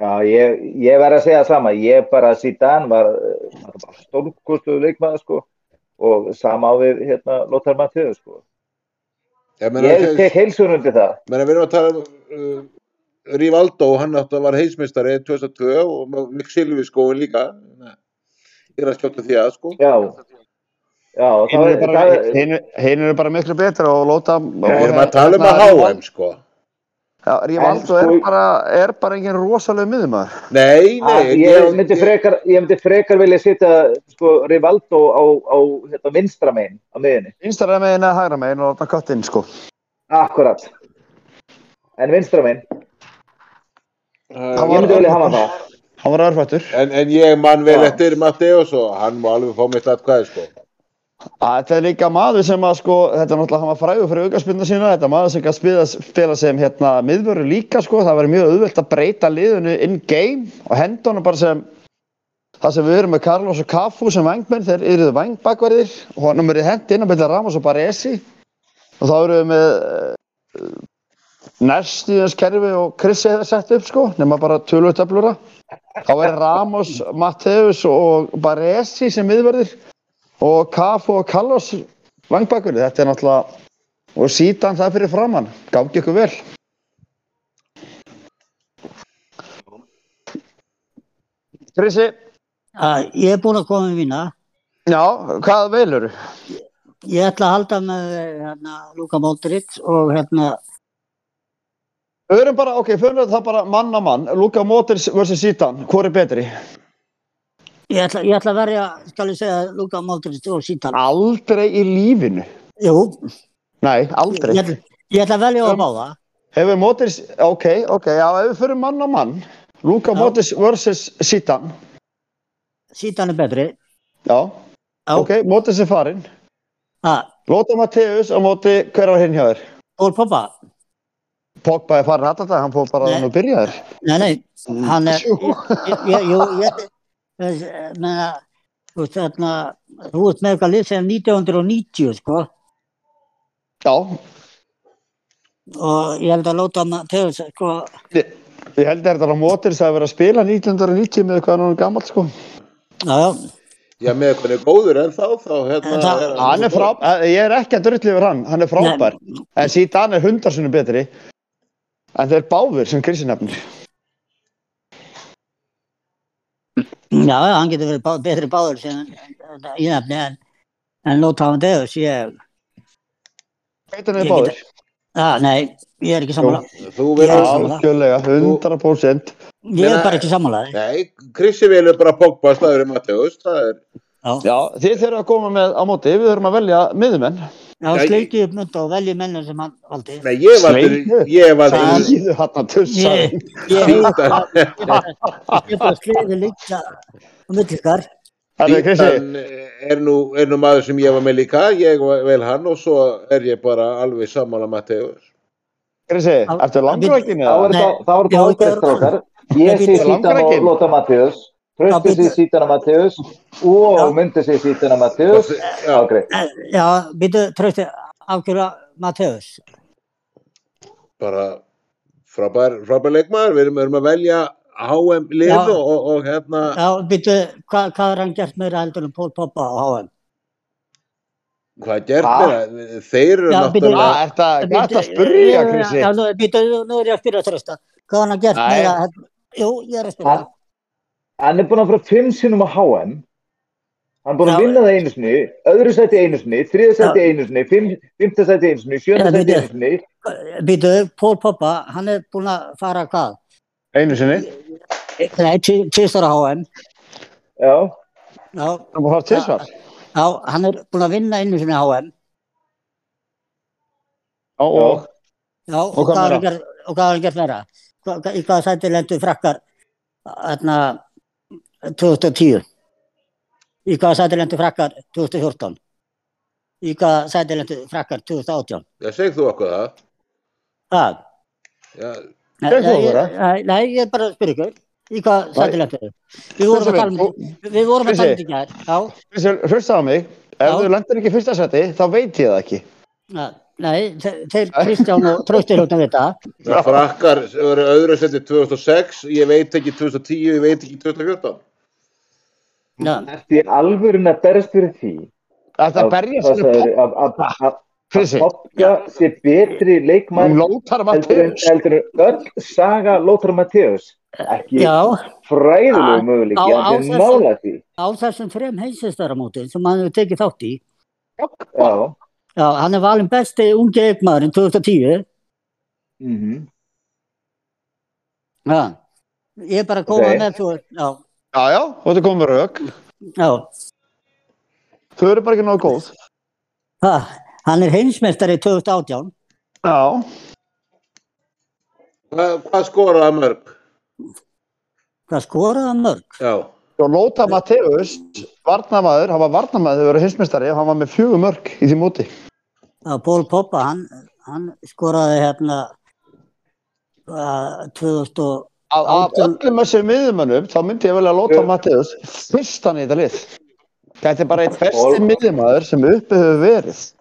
S4: Já, ég, ég verð að segja það sama. Ég bara síðan var, eh, hann var bara stórkustuðu leikmaður, sko. Og sama á við, hérna, Lóttar Mattiðu, sko.
S1: Ég meina,
S4: Ég tek heilsunundi það.
S1: menna við erum að tala um uh, Rivaldo, hann átti að var heimsmeistari 2002 og Mick Silvi skóin líka Ég er að skjóta því að sko
S4: Já, Já,
S3: Hinn
S4: það,
S3: eru bara,
S4: það,
S3: hinir- hinir eru bara miklu betra og hérna- lóta
S1: Við erum að tala um að HM sko
S3: Rívaldo
S4: En
S3: er
S4: sko-
S3: bara, er bara engin rosalega miðumar
S1: Nei, nei
S4: að, Ah, ég, myndi frekar, ég myndi frekar vilja setja sko, Rivaldo á, á hérna, vinstra megin á miðinni.
S3: Vinstara megin eða hægra megin og láta kött inn sko
S4: Akkurat. En vinstra megin.
S1: uh,
S3: Hann
S4: Ég
S3: var-
S4: myndi vilja hafa það.
S3: Hann var örfættur
S1: en, en ég man vel
S4: Já.
S1: eftir Mateos og hann má alveg fá mitt atkvæði sko
S3: Þetta er líka maður sem að sko, þetta er náttúrulega hann var frægur fyrir aukarspilna sína, þetta er maður sem kann spila, spila sem hérna miðvöru líka sko, það verður mjög auðvelt að breyta liðinu in game og henda honum bara sem það sem við erum með Carlos og Cafu sem vangmenn, þeir eruðu vangbakverðir og hann verið hendi inn að byrja Ramos og Baresi og þá erum við með eh, uh, næstíðans kerfi og Chrissi hefur sett upp sko, nema bara tölvutöflura þá er Ramos, Mateus og Baresi sem miðvörðir og Cafu og Carlos vangbakverðir, þetta er náttúrulega og sítan það fyrir framann, gangi ykkur vel Chrissi
S2: Að ég er búin að koma með mína.
S3: Já, hvað velur?
S2: Ég ætla að halda með hérna, Luka Modric og hérna,
S3: Við erum bara, ok, fyrir það bara mann að mann, Luka Modric vs. Zidane, hvað er betri?
S2: ég ætla, ég ætla að verja, skal ég segja, Luka Modric og Sítan.
S3: Aldrei í lífinu.
S2: Jú,
S3: Nei,
S2: ég
S3: aldrei.
S2: ætla, ég ætla að velja á báða.
S3: Hefur Modric, ok, ok, já, ef við fyrir mann að mann, Luka
S2: Já.
S3: Modric vs. Zidane,
S2: Sítan er betri.
S3: já,
S2: Já,
S3: ok, Modric er farinn.
S2: að,
S3: Lóta Matteus á móti, hver var hinn hjá þér?
S2: Ól Poppa,
S3: Pogba er farin alltaf það, hann fór bara
S2: Nei.
S3: hann og byrja þér.
S2: nei, nei,
S1: Mm.
S2: hann er,
S3: Jú.
S2: ég, ég, jú, ég, ég, menna, þú veist, hérna, þú veist með eitthvað lið sem 1990, sko,
S3: Já,
S2: og ég held að Lóta Mateus, sko,
S3: ég, ég held að þetta á Modric að vera að spila 1990 með hvað hann er gammal, sko.
S2: já, já,
S1: Já, með hvað hann er góður en þá, þá hérna,
S2: En það-
S3: Hann er frá, Eh, ég er ekki að drulli yfir hann, hann er frábær. En síðan er hundarsunum betri. En þeir báður sem Krissi nefnir.
S2: Já, já, hann getur verið bá, betri báður sem ég nefni en, en Lóta Amadeus, ég,
S3: Veitum við
S2: Ég
S3: báður?
S2: að, nei, ég er ekki sammála.
S1: Þú
S2: Já,
S1: verður
S2: sammála.
S3: Algjörlega, 100%.
S2: Ég er
S1: Meina-
S2: bara ekki sammála. Já,
S1: Nei, Krissi velur bara Pogba staður í Mateus, það er
S2: já,
S3: Já, þið þurfum að koma með á móti, við þurfum að velja miðumenn.
S1: Já, ég-
S2: sleikið upp mynd og veljið mennum sem hann valdi.
S1: Nei, ég var
S3: Sleipnir.
S1: Ég var til
S3: Sæðu hann að tussa.
S2: Ég, ég, ég,
S1: Sítan
S2: ég bara- ég bara sleiði líka á milli ykkar.
S3: Það er Krissi,
S1: Sítan er nú, er nú maður sem ég var með líka Ég var vel hann og svo er ég bara alveg sammála Mateus
S3: Krissi,
S2: Al-
S3: ertu langrækinn
S4: Þá
S3: eða?
S4: er
S2: Nei.
S4: það- þá
S2: Já,
S4: eru það
S2: ég er-
S4: ágæstur okkar. Ég
S2: Ég
S4: sé
S2: býtu-
S4: sítan og
S3: Langrakinn.
S4: Lóta Mattius.
S2: Já,
S4: Trösti sé
S2: býtu-
S4: sítan og Mattius.
S2: Já.
S4: Og myndi sé sítan og Mattius.
S1: Já.
S4: Ágreitt.
S2: Eh, Já, býtu, trösti, afgjörða Mateus.
S1: Bara frábær, frábær leikmaður Við erum, erum að velja HM lið
S2: Já.
S1: og, og, og hérna
S2: Já, býtu, hva, hvað er hann gert meira heldur en Pól Poppa á HM?
S1: Hvað gert
S4: Ha?
S1: mér? Þeir eru
S2: Já, býtu-
S1: náttúrulega
S3: Það er það Ah, að spyrja Krissi.
S2: Já, nú, býtu, nú er ég að spyrja trösta. Hvað er hann gert
S3: Nei.
S2: meira heldur? Jú, ég er að spyrja.
S4: Hann, hann er búinn að fara fimm sinnum á HM Hann er búinn að
S2: Já.
S4: vinna það einu sinni öðru sæti einu sinni, þriða sæti
S2: Já.
S4: einu sinni fimm, fymta sæti einu sinni, sjöna
S2: Já,
S4: sæti
S2: bíddu.
S4: einu sinni
S2: Býtu, Pól Poppa, hann er búinn að fara hvað?
S3: Einu sinni.
S2: Nei, tvisar á HM.
S4: Já,
S2: Já,
S3: Það má hafa tilsvar.
S2: já, hann er búinn að vinna einu sinni á HM.
S3: Já, og
S2: Já, og,
S3: hvað
S2: hvað er
S3: meira?
S2: hann gert- og hvað er hann gert meira? Hva, hva- í hvaða sæti lendu frakkar hérna 2010? Í hvaða sæti lendu frakkar 2014? Í hvaða sæti lendu frakkar 2018?
S1: Já, segð þú okkur það
S2: Það?
S1: Já,
S2: Nei,
S3: Segðu
S2: nei,
S3: okkur það.
S2: nei, nei, ég er bara að spyrja ykkur. Í hvaða
S3: Nei.
S2: sæti lendu? Við vorum að tala um
S3: Krissi,
S2: við vorum að tala um
S3: Krissi.
S2: þetta í gær. Já,
S3: Krissi, hlusta á mig. Ef
S2: Já.
S3: þú lendir ekki í fyrsta seti, þá veit ég það ekki.
S2: já, nei, þe- þeir Kristján og Trausti hljóta við þetta.
S3: Já.
S1: Frakkar eru öðru setið 2006 Ég veit ekki 2010, ég veit ekki 2014
S2: Já,
S4: ertu í alvörun að berst fyrir því
S3: Þetta
S4: að-
S3: berja
S4: hvað
S3: sinni
S4: sagðirðu, að- að- að- að- að
S3: Krissi.
S4: Popka sé betri
S3: Um
S4: leikmann
S3: Lótar
S4: heldur en,
S3: Matteus
S4: heldur en öll saga Lóthar Matteus ekki
S2: já,
S4: fræðilegu
S2: Á-
S4: möguleiki
S2: á-
S4: hann
S2: á
S4: er
S2: þessu-
S4: nála því
S2: á þessum þrem heilsistaramóti sem hann hefur tekið þátt í
S4: já,
S2: Já, hann er valinn besti ungi leikmaðurinn 2010.
S4: mhm.
S2: Já. Ég er bara að koma
S4: Ok.
S2: með þú. Já,
S3: Já, já, og þetta komið með rauk.
S2: já.
S3: Þau eru bara ekki nógu góð.
S2: Ha, hann er heimsmeistari 2018.
S3: Já,
S1: Hvað, hvað skoraða mörg?
S2: Hvað skoraði hann mörg?
S1: Já,
S3: og Lóta Mateus, varnamaður, hann var varnamaður þegar verið hinsmestari, hann var með fjögur mörg í því móti.
S2: Já, Ból Poppa, hann, hann skoraði hérna uh, 2000 og
S3: Af, af
S2: Átján-
S3: öllum þessum miðjumönnum, þá myndi ég velja að Lóta
S4: Já.
S3: Mateus fyrstan í þetta lið. Þetta er bara eitt
S4: Og-
S3: besti miðjumöður sem uppi hefur verið.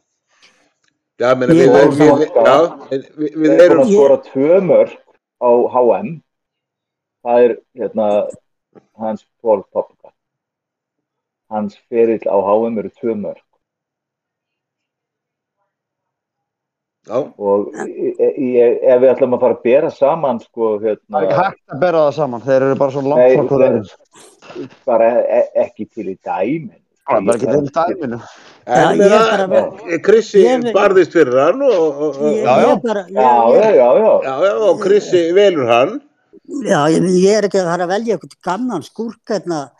S1: já, meina,
S2: Ég
S1: við,
S2: var
S1: við, við, já,
S4: að skoða.
S1: en við, við
S4: Þeir eru
S1: erum
S4: að skora tvö mörg á HM. Það er hérna hans Paul Popka. Hans ferill á HM eru tvö mörg.
S1: já,
S4: Og í- í- í- ef við ætlum að fara að bera saman sko
S3: Það er ekki
S4: hérna
S3: hægt að bera það saman, þeir eru bara svo langt
S4: Nei,
S3: frá hverju
S4: þeir-
S3: öðru.
S4: bara e- ekki til í dæmin.
S3: Það er bara ekki þeim dæminu.
S2: Já,
S1: en
S2: ég er
S1: það-
S2: bara-
S1: Krissi
S2: Ég er-
S1: barðist fyrir hann og, og, og,
S2: ég,
S3: Já, já.
S2: ég bara,
S4: Já,
S2: ég,
S4: já,
S2: ég,
S4: já, já.
S1: já, já, og Krissi velur hann
S2: já, ég, ég er ekki að fara að velja eitthvað gamlan skúrk hérna,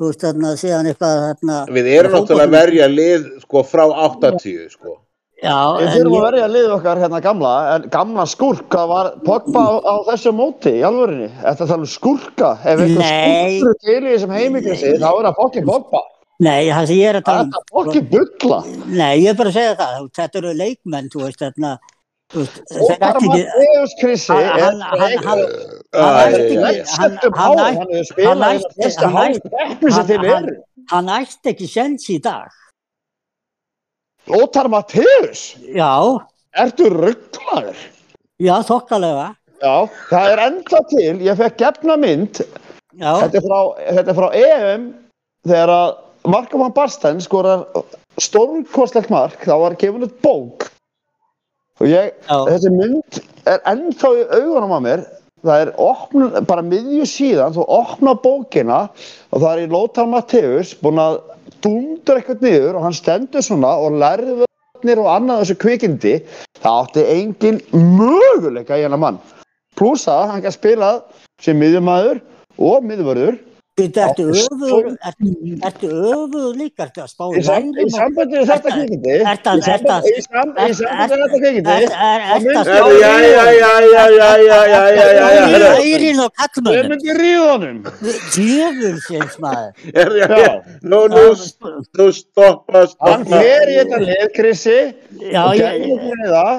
S2: þú veist, hérna, síðan eitthvað, hérna,
S1: Við erum náttúrulega að verja lið sko frá 80 sko
S2: já,
S3: Við
S2: en
S3: þurfum að
S2: ég,
S3: verja lið okkar hérna gamla, en gamla skúrka var Pogba á, á þessu móti í alvörinni. Þetta er talað um skúrka, ef einhver
S2: Nei.
S3: skúrkur til í þessum heimikrissi, þá er það fokkin Pogba.
S2: nei, það sem ég er að
S3: Það
S2: tala
S3: er
S2: um,
S3: það fokkin bulla.
S2: nei, ég er bara að segja það, þú- þetta eru leikmenn, þú veist, hérna, þú veist, þeir
S3: Ótar
S2: ætti ekki,
S3: Mateus Krissi
S2: Hann-
S3: er
S2: hann- hann- hann-
S1: Æ,
S2: hann
S1: æ,
S2: ætti
S1: æ,
S2: ekki,
S1: æ.
S2: hann,
S3: Settum
S2: hann,
S3: háum,
S2: ætti-
S3: hann hefur spilað
S2: hann
S3: eina
S2: ætti-
S3: besta
S2: hann
S3: háum
S2: ætti-
S3: keppni sem
S2: hann-
S3: til
S2: hann-
S3: er.
S2: hann ætti ekki sjens í dag,
S3: Ótar Mateus,
S2: já,
S3: ertu rugglaður?
S2: já, þokkalega,
S3: Já, það er enda til, ég fekk gefna mynd,
S2: já,
S3: þetta er frá, þetta er frá EM, þegar að Marko van Barsten skorar stórkostlegt mark, þá var gefin upp bók. Og ég,
S2: Já.
S3: þessi mynd er ennþá í augunum á mér, það er opnun, bara miðju síðan, þú opna bókina og það er í Lótar Mateus búinn að dundur eitthvað niður og hann stendur svona og lærði vöðnir og annað þessu kvikindi, það átti engin möguleika í hennar mann. Plús að hann gæti spilað sem miðjumæður og miðvörður
S2: þetta ertu
S3: Já,
S2: öfugur, ertu, ertu öfugur líka, ertu að spá
S3: Í sam- í
S2: lærum að-
S3: sambandi við þetta
S2: Ertu-
S3: kvikindi í
S2: ertu að-
S3: sambandi-
S2: ertu að-
S3: í sam- í
S2: ertu-
S3: sambandi við
S2: ertu-
S3: þetta kvikindi
S2: ertu- er- ertu
S3: þá
S2: að-
S3: myndi
S1: Herru,
S3: ég
S1: já, já,
S3: ríða-
S1: já, já, já, já, já, já, já, já,
S2: Þú
S1: herru.
S2: ærin og
S3: ég
S2: kallmönnum,
S3: myndi ríða honum
S2: djöfulsins maður.
S1: Herru, já, já.
S3: Já.
S1: Nú, nú, nú stoppa,
S3: hann
S1: stoppa
S3: fer í þetta lið Krissi
S2: Já,
S3: og
S2: ég,
S3: gerði þetta í það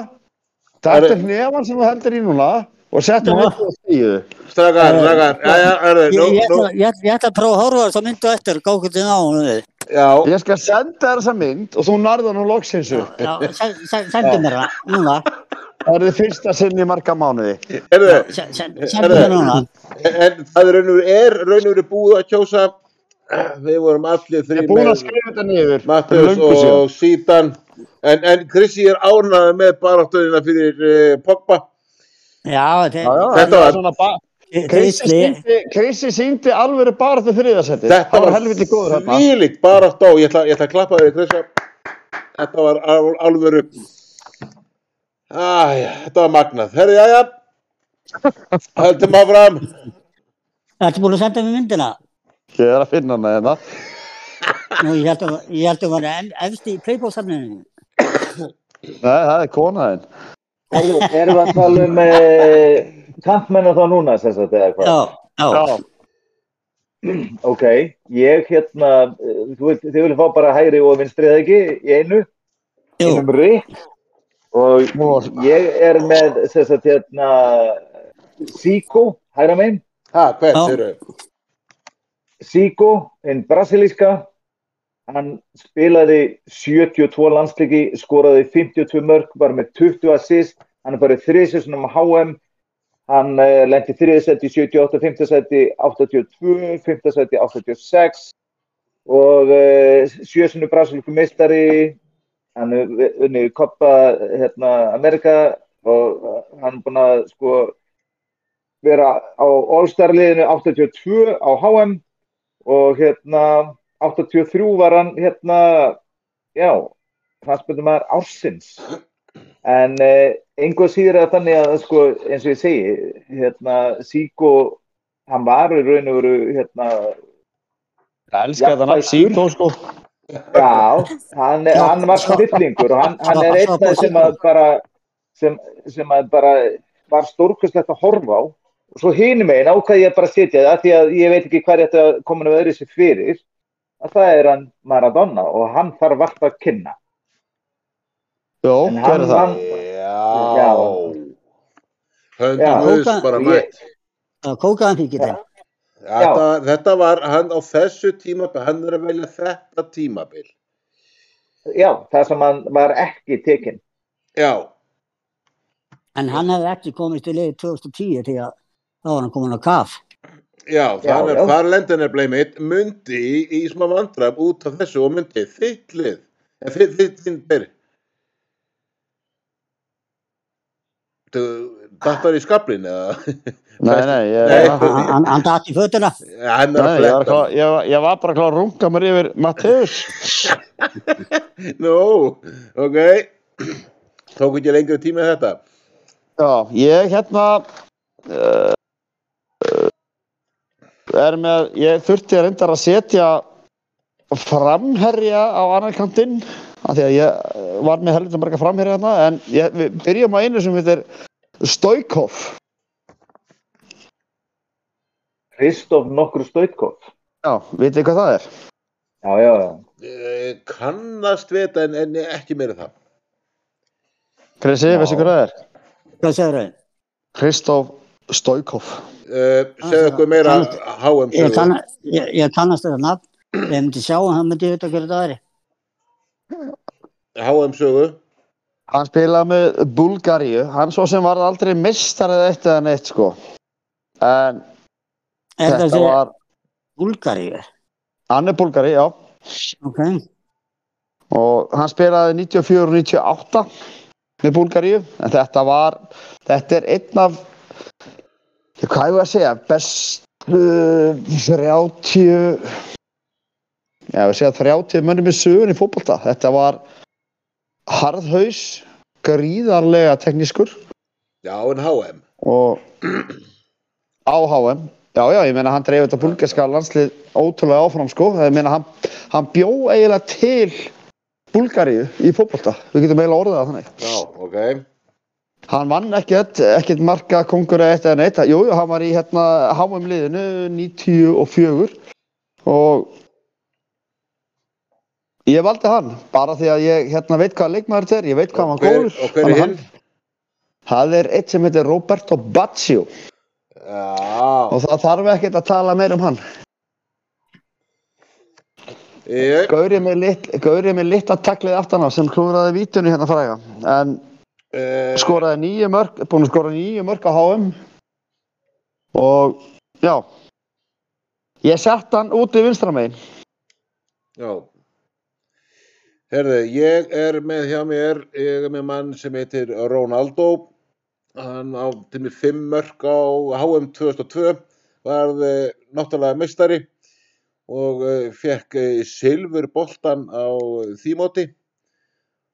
S3: það er hnefan sem þú heldur í núna og settu
S2: Nú.
S3: hann upp og stíðu
S1: Strakar, strakar, já, já, herru,
S2: ég,
S1: nú,
S2: ég,
S1: nú
S2: ætla- ég, ætla- ég ætla að prófa að horfa þess að myndu eftir, góðu til nánu við.
S1: Já,
S3: ég skal senda þér þessa mynd og þú nærðu hann og loksins upp
S2: Já, sen- sen- sendu mér það, núna,
S3: það er þið fyrsta sinni í marga mánuði
S1: herru,
S2: sen- sen- sendu mér núna.
S1: en það er raunur, er raunur búið að kjósa Við vorum allir
S3: ég
S1: þrý
S3: er búin að skrifa þetta niður fyrir
S1: Mattias
S3: löngu síðan.
S1: og Sítan En, en Krissi er ánæðið með baráttuðina fyrir uh, Pogba
S2: Já, þe-
S3: Já, já,
S1: Þetta
S3: þetta
S1: var-
S3: var svona ba-
S2: þe-
S3: Krissi
S2: Krisli,
S3: sýndi- Krissi síndi alvöru bara þau þriðasetti
S1: Þetta
S3: það var helviti góður hérna
S1: Þvílík barátt á, ég ætla, ég ætla að klappa þér Kristján Þetta var al, alvöru Æ, þetta var magnað Herri, jæja Höldum áfram
S2: ertu búin að senda mér myndina?
S3: Ég er að finna hana hérna.
S2: Nú, ég held að, ég held að vera en- efst í playboy-safninu.
S3: Nei, það er konaðinn.
S4: Erum erum við að tala um eh, kantmenna þá núna, sem sagt, eða hvað?
S2: Já, já,
S3: Já,
S4: Ok, ég hérna, eh, þú veit, þið viljum fá bara hægri og vinstrið ekki í einu,
S2: jú,
S4: einum rikk og ég er með, sem sagt, hérna, Sigo, hægra megin,
S1: Ha, hvert,
S2: Já.
S1: herru
S4: Sigo, einn brasilíska, hann spilaði 72 landsleiki, skoraði 52 mörg, var með 20 assist, hann er bara þriðsessunum á HM, hann uh, lendi þriðsætti, 78, 5. sæti, 82, 5. sæti, 86 og uh, sjösunum brasilíku meistari, hann er unnið koppa hérna, Amerika og eh, hann er búinn að sko vera á All-Star-liðinu 82 á HM og hérna 83 var hann hérna já knastbundumæður ársins en eh, einhvað síður að þannig að sko, eins og ég segi hérna, Síko hann var í raun og veru hérna,
S3: Ég elska þetta nafn Sító sko
S4: já, hann, hann var snillingur og hann, hann er einn af sem að bara sem, sem að bara var stórkustlegt að horfa á og svo hinum einn ákvað ég bara að setja það af því að ég veit ekki hvað er þetta komin af öðru sér fyrir að það er hann Maradona og hann þarf vart að kynna
S3: Jó,
S4: En hann
S3: hver er það?
S4: vann- Já.
S1: Já
S4: Já.
S1: Höndum guðs
S2: Hóka-
S1: bara
S4: Og
S1: mætt
S2: Það kókaðan fyrir
S4: Já.
S2: þetta.
S1: þetta, þetta var hann á þessu tímabil Hann er að velja þetta tímabil
S4: Já, það sem hann var ekki tekinn.
S1: Já,
S2: En hann hefði ekki komist í liði 2010 því að þá var hann komin á kaf.
S1: já,
S4: Já,
S1: þar,
S4: já.
S1: þar lendir nefnilega mitt myndi í, í smá vandram út af þessu og myndi þitt lið en þitt þitt þindir Þú dattar í skablin eða
S3: Nei, nei, ég,
S1: Nei,
S3: ég,
S1: þú-
S2: Hann- Hann hann datt í fötuna.
S1: hann er að
S3: nei, ég, var, að
S1: fletta
S3: klá- ég, var- ég var bara að klára að runga mér yfir Matteus
S1: Nú, ok Tók ekki lengri tíma í þetta
S3: Já, ég hérna uh, er með, ég þurfti að reyndar að setja framherja á annan kantinn af því að ég eh, var með helvita marga framherja þarna en ég, við byrjum á einu sem við er Stoikov
S4: Kristoff nokkur Stoitkov.
S3: Já, vitið hvað það er?
S4: Já, já, já.
S1: Eh, Kannast við þetta en, en ekki meira það
S3: Krissi,
S4: Já.
S3: veistu hvað það er?
S2: Hvað segir þau?
S3: Kristof Stoikov
S1: uh, Segðu
S2: Ah,
S1: okkur meira
S2: kannast-
S1: HM
S2: Ég,
S1: sögu.
S2: kann, ég, ég kannast þetta nafn. Ef Ég myndi sjá hann, hann myndi ég vita hverju það er.
S1: HM sögu
S3: Hann spilaði með Búlgaríu hann svo sem var aldrei mistarið eitt eða neitt sko en
S2: Er
S3: þetta
S2: þessi var...
S3: var,
S2: Búlgaríu?
S3: hann er Búlgari, já
S2: Ok.
S3: og hann spilaði 94 og 98 með Búlgaríu en þetta var, þetta er einn af ég, hvað ég var að segja bestu 30 já, ég segja 30 mönnum í sögun í fótbolta þetta var harðhaus gríðarlega teknískur
S1: Já, en HM
S3: og á HM já já, ég meina hann dreif þetta búlgarska landslið ótrúlega áfram sko ég meina hann, hann bjó eiginlega til Búlgaríu í fótbolta við getum eiginlega orðað það þannig
S1: Já, ok
S3: hann vann ekkert, ekkert marga kongur eða eitt eða neitt, jú, jú, hann var í hérna HM liðinu 94 og ég valdi hann bara því að ég hérna veit hvað leikmaður þetta er ég veit hvað hann
S1: Og hver-
S3: var góður
S1: Og hver er
S3: Þannig að
S1: hinn?
S3: hann- það er eitt sem heitir Roberto Baggio
S1: Já,
S3: og það þarf ekkert að tala meir um hann
S1: ég,
S3: Gaurið með, lit, gaurið með litla taklið aftan á sem klúraði vítunni hérna fræga en
S1: uh,
S3: skoraði nýju mörg búin að skora nýju mörg á HM og já ég sett hann út í vinstramegin
S1: já. Herðu, ég er með hjá mér, ég er með mann sem heitir Ronaldo. Hann á til mig fimm mörk á HM 2002, varð eh, náttúrulega meistari og uh, fekk uh, silfurboltan á eh, því móti.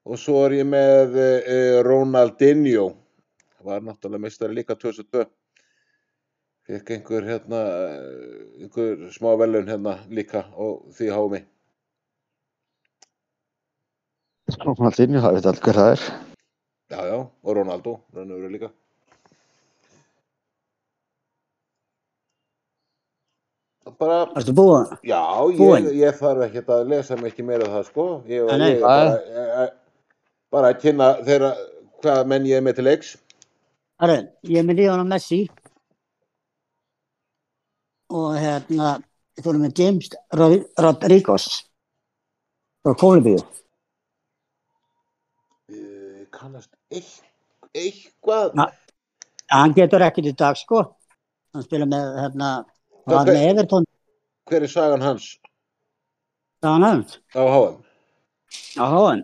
S1: Og svo er ég með uh, Ronaldinho, var náttúrulega meistari líka 2002. Fekk einhver hérna, eh, einhver smá velun hérna líka og því hámi.
S3: Ronaldinho, það veit allir hver það er
S1: Já, já, og Ronaldo, raun og veru líka. Bara,
S2: Varstu búin?
S1: já, ég,
S2: Búinn.
S1: ég þarf ekki að lesa mikið meira það, sko. Ég,
S2: Nei, nei.
S1: ég, bara, ég, bara að kynna þeirra hvaða menn ég er með til leiks.
S2: Herru, ég er með Lionel Messi. Og hérna, þú erum með James Rod- Rodriguez. Frá Kólumbíu.
S1: Eh, Kannast eitt, eitthvað,
S2: Na, Hann getur ekkert í dag, sko. Hann spila með, hérna, var
S1: Ok.
S2: með Everton.
S1: hver er sagan hans
S2: Það var hann hans.
S1: á HM?
S2: á HM.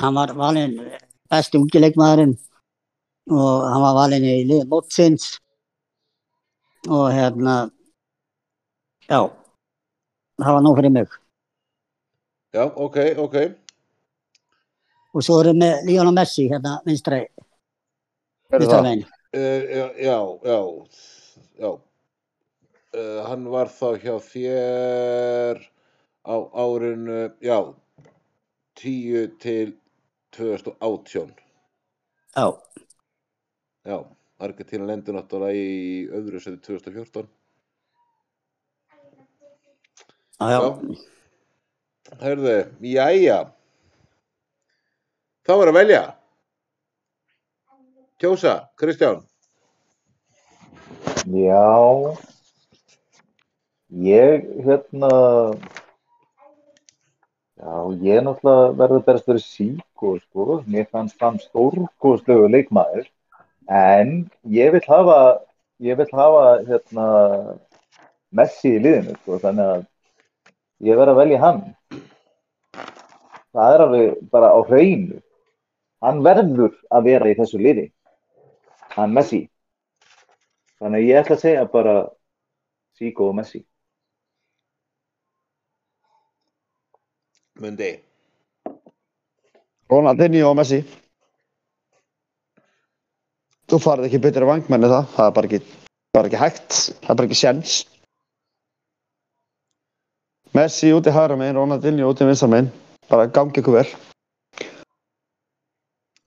S2: Hann var valinn besti ungi leikmaðurinn og hann var valinn í liðið mótsins og hérna já, það var nóg fyrir mig.
S1: Já, ok, ok.
S2: og svo erum við með Lionel Messi hérna vinstra
S3: Hver er
S2: vinstra
S3: það?
S2: megin
S1: Eh, já, já, já, já. Uh, hann var þá hjá þér á árinu, já, 10 til 2018.
S2: já,
S1: Já, Argentina lendur náttúrulega í öðru seti 2014.
S2: já, já.
S1: Hörðu, jæja. Þá er að velja. Kjósa, Kristján.
S4: Já, ég hérna, já, ég er náttúrulega verður berast verið síkó, sko, mér fannst hann stórkostlegu leikmaður, en ég vil hafa, ég vil hafa, hérna, Messi í liðinu, sko, þannig að ég verð að velja hann. Það er alveg bara á hreinu. Hann verður að vera í þessu liði, hann Messi. Þannig að ég ætla að segja bara Zico og Messi.
S1: Mundi.
S3: Ronaldinho og Messi Þú farið ekki betri vangmenni það, það er bara ekki, bara ekki hægt, það er bara ekki sjens Messi úti hægra megin, Ronaldinho úti vinstra megin, bara gangi ykkur vel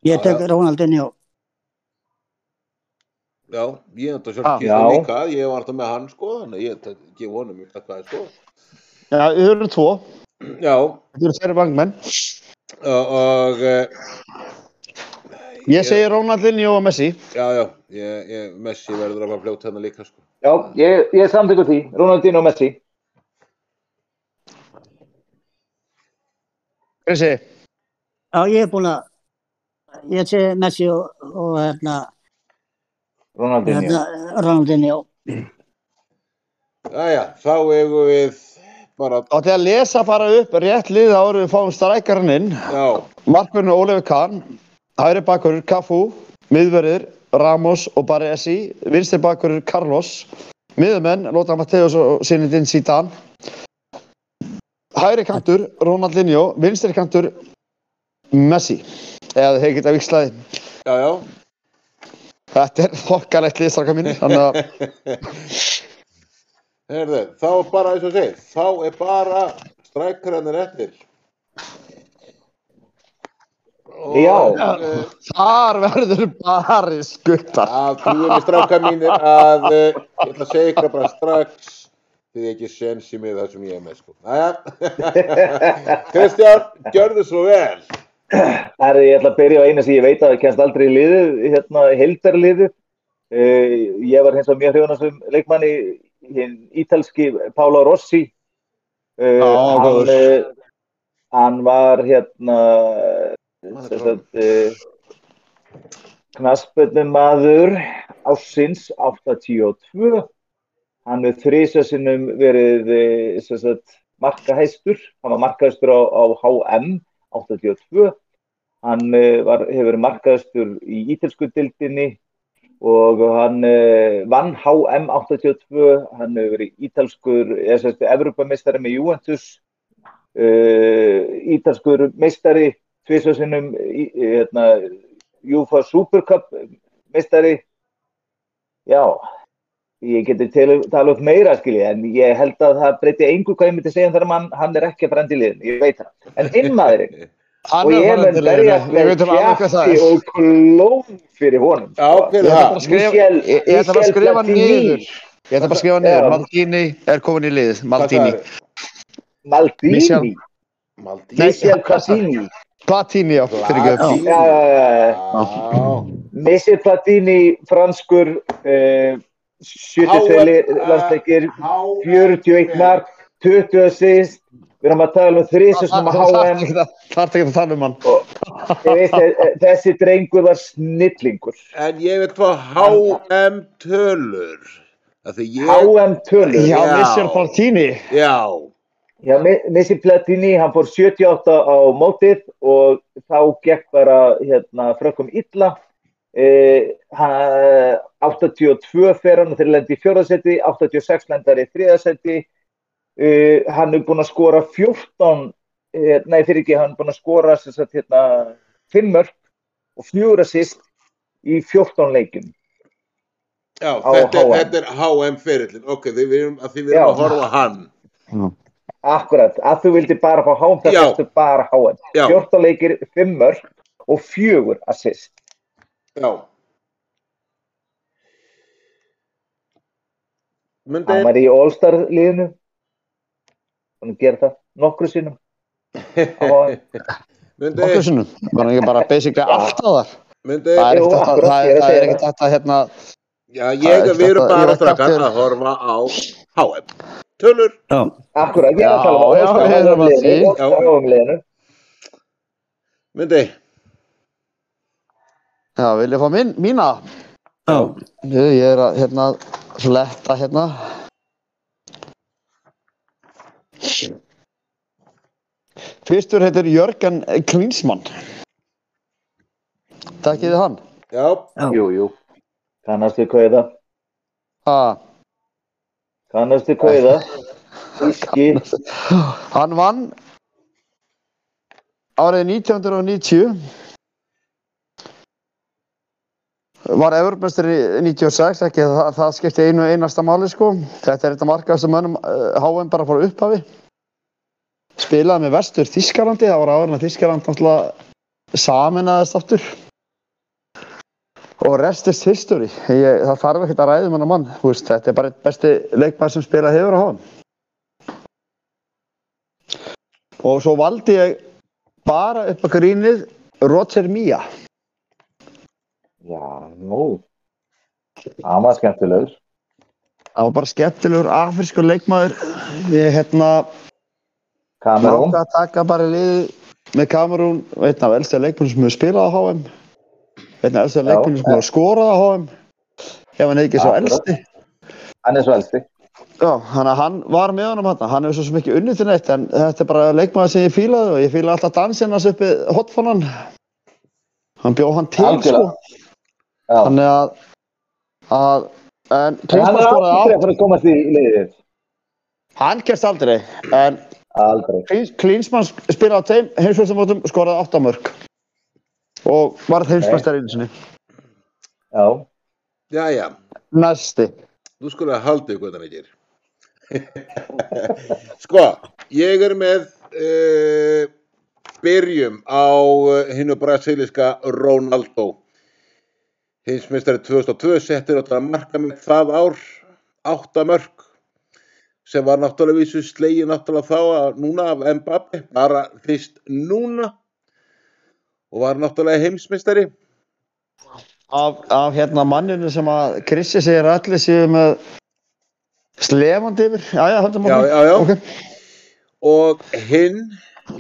S2: ég
S1: Já,
S2: tek
S1: já.
S2: Ronaldinho
S1: Já, ég er þetta
S3: Ah.
S1: sjálf kýrðan
S4: Já.
S1: líka, ég var þetta með hann sko, þannig að ég tek- gef honum eitthvað hvað sko.
S3: Já, þau eru tvo,
S1: Já,
S3: þau eru þeirri vangmenn
S1: og, og eh,
S3: Ég segi Ronaldinho og Messi
S1: já, já, ég, ég, Messi verður að fara fljóta hérna líka sko.
S4: Já, ég, ég samtökur því. Ronaldinho og Messi.
S3: Krissi,
S2: já, ég er búin að ég sé Messi og, og hérna,
S4: Ronaldinho.
S2: hérna Ronaldinho
S1: Já, já, þá eigum við bara,
S3: átti að lesa bara upp rétt lið árið við fáum strækarinn inn
S1: já,
S3: Markmörnur Ólefi Kahn, hægri bakkurur Cafu, miðverðir Ramos og Baresi, vinstri bakkurur Carlos, miðumenn Lothar Matthäus og Sinidin Zidane, hægri kantur Ronaldinho, vinstri kantur Messi, eða þeir geta vikslaði.
S1: já, já,
S3: Þetta er þokkalegt liðstraka mín, þannig að
S1: Herðu, þá er bara eins og ég segi, þá er bara hérna strækrarnir eftir. Og,
S4: Já.
S1: eh,
S3: þar verður bara skuttar.
S1: að trúinni stráka mínir að uh, ég ætla að segja ykkur bara strax þið er ekki sens í mig það sem ég er með sko. Næja, Kristján, gjörðu svo vel.
S4: Herri, ég ætla að byrja á eina sem ég veit að kemst aldrei í liðið, hérna, heldarliðið. Uh, ég var hins vegar mjög hrjóna sem leikmanni, hinn ítalski Pála Rossi. Uh,
S3: Já,
S4: hann,
S3: góður.
S4: uh, hann var hérna, sem sagt, uh, knaspunumadur ásins 82. Hann er þrísa sinnum verið eh, sem sagt, markahæstur. Hann var markahæstur á, á HM 82. Hann eh, var, hefur verið markahæstur í ítalsku dildinni og hann eh, vann HM 82. Hann hefur verið ítalskur, eða sem sagt, Evropameistari með Juventus. Uh, ítalskur meistari tvisvar sinnum í- í- hérna, Júfa Supercup meistari já ég geti til- tala upp meira skilji en ég held að það breyti engu hvað ég myndi segja um þennan mann, hann er ekki að brenda í liðin ég veit það, en innmaðurinn og
S3: Hann er
S4: ég
S3: bara
S4: mun
S3: til liðinu, ég
S4: berjast með
S3: veit alveg hvað það
S4: kjæfti
S3: er.
S4: og klón fyrir honum sko.
S1: Já, fyrir það.
S3: Ég ætla bara að skrifa-
S4: Michel-
S3: ég- ég ætla bara að
S4: Michel
S3: skrifa
S4: Platini.
S3: niður. Ég ætla bara að skrifa
S4: Já.
S3: niður, Maldini er komin í lið, Maldini.
S1: Hvað sagðirðu?
S4: Maldini,
S3: Michel-
S1: Maldini.
S3: Nei,
S4: Michel
S3: hvað sagði-
S4: Platini
S3: Platini, já, fyrirgefðu.
S1: Platini.
S4: Já, já, já, já.
S1: Já,
S4: Messi Platini, franskur uh, 72
S1: HM, eh,
S4: landsleikir
S1: HM.
S4: 41 mark, 20 assist við erum að tala um þrísa sem að
S3: Það
S4: HM
S3: þarf ekki að- það þarf ekki að tala um hann.
S4: og ég veist að eh, þessi drengur var snillingur
S1: En ég veit hvað HM tölur. Af Því ég,
S4: HM tölur
S3: Já,
S1: Já.
S3: Michel Platini.
S1: já,
S4: Já, Me- Messi Platini, hann fór 78 á mótið og þá gekk bara hérna, frökkum illa. Eh, hann, 82 fer hann þegar lendi í fjórðasetti, 86 lendar í þriðasetti. Eh, e, hann er búinn að skora 14, eh, nei fyrir ekki, hann er búinn að skora sem sagt, hérna, 5 mörg og 4 assist í 14 leikjum.
S1: Já,
S4: Á
S1: þetta, er-
S4: HM.
S1: þetta er HM ferillin, ok, því við erum að, því við
S4: Já.
S1: erum að horfa á hann.
S4: Akkurat, að þú vildi bara fá háum, það
S1: Já.
S4: fyrstu bara háum.
S1: Já.
S4: 14 leikir, 5 mörg og 4 assist.
S1: Já. Myndi,
S4: Hann var í All-Star liðinu. Hann gerði það nokkru sinnum. á HM.
S1: myndi,
S3: Okkur sinnum, var hann ekki bara basically alltaf þar?
S1: myndi,
S3: Það er
S4: Jú,
S3: ekkert að,
S4: akkurat,
S3: það
S4: ég
S3: er,
S4: er að
S3: það er
S4: segja
S3: ekkert að, að hérna,
S1: já, ég,
S3: Það er
S1: við erum
S3: þetta- ég
S1: bara
S3: er
S1: strakkan
S3: þetta-
S1: að horfa á HM. Tölur,
S2: Já,
S4: Akkurat, ég er
S3: Já,
S4: að tala um
S3: já, við
S4: All-Star
S3: erum að því.
S4: liðinu. All-Star
S1: Já.
S4: háum liðinu.
S1: myndi,
S3: já, vil ég fá mín, mína?
S2: já,
S3: Nú, ég er að, hérna, fletta hérna. Fyrstur heitir Jörgen Klinsmann. Takkið þið hann.
S1: já,
S2: já.
S4: Jú, jú. Kannastu kauða.
S3: Ha,
S4: Kannastu kauða. Íski.
S3: hann vann árið 1990. Var Evropmestri 96, ekki það, það skipti einu einasta máli sko. Þetta er þetta markað sem mönnum uh, HM bara fór upphafi. Spilaði með vestur Þískalandi, það var áður en að Þískaland náttúrulega saminaðist aftur. Og rest is history. Ég, það þarf ekkert að ræðum hann að mann. þú Veist, þetta er bara einn besti leikmæður sem spilað hefur á HM. Og svo valdi ég bara upp að grínið Roger Mia.
S4: Já, nú. Hann var skemmtilegur.
S3: Það var bara skemmtilegur afrískur leikmaður. Ég hérna
S4: Kamerún.
S3: náttúrulega að taka bara liðið með Kamerún, einn af elsta leikmennum sem hefur spilað á HM, einn af elsta
S4: Já.
S3: leikmennum sem hefur skorað á HM, ef hann er ekki svo
S4: Akkurat.
S3: elsti.
S4: Hann er svelti.
S3: Já, hann, hann var með honum hann, hann hefur svo sem ekki unnið til neitt, en þetta er bara leikmaður sem ég fílaði og ég fílaði alltaf dansinn hans uppi hotfonan. Hann bjóð hann til,
S4: Algjörlega.
S3: sko.
S4: Já.
S3: Þannig að, að en
S4: En hann
S3: Klinsmann
S4: er
S3: skoraði
S4: aldrei
S3: átt,
S4: að fara að komast í liðið.
S3: hann gerst aldrei, en
S4: Aldrei.
S3: Klins- Klinsmann spilaði á teim heimsmeistaramótum, skoraði 8 mörg og varð heimsmeistar einu sinni.
S4: Já.
S1: já, já,
S3: Næsti.
S1: þú skulle haldið hvað það er. sko, ég er með uh, byrjum á eh, hinu brasilíska Ronaldo. Hinsmestari 2002 settir átt að marka með það ár, áttamörk, sem var náttúrulega vísu slegið náttúrulega þá að núna af Mbappe, bara fyrst núna og var náttúrulega heimsmeistari.
S3: Af, af hérna manninu sem að Krissi segir að allir séu með slefandi yfir. Já, já, höldum
S1: Já,
S3: áfram.
S1: já, já.
S3: Ok.
S1: og hinn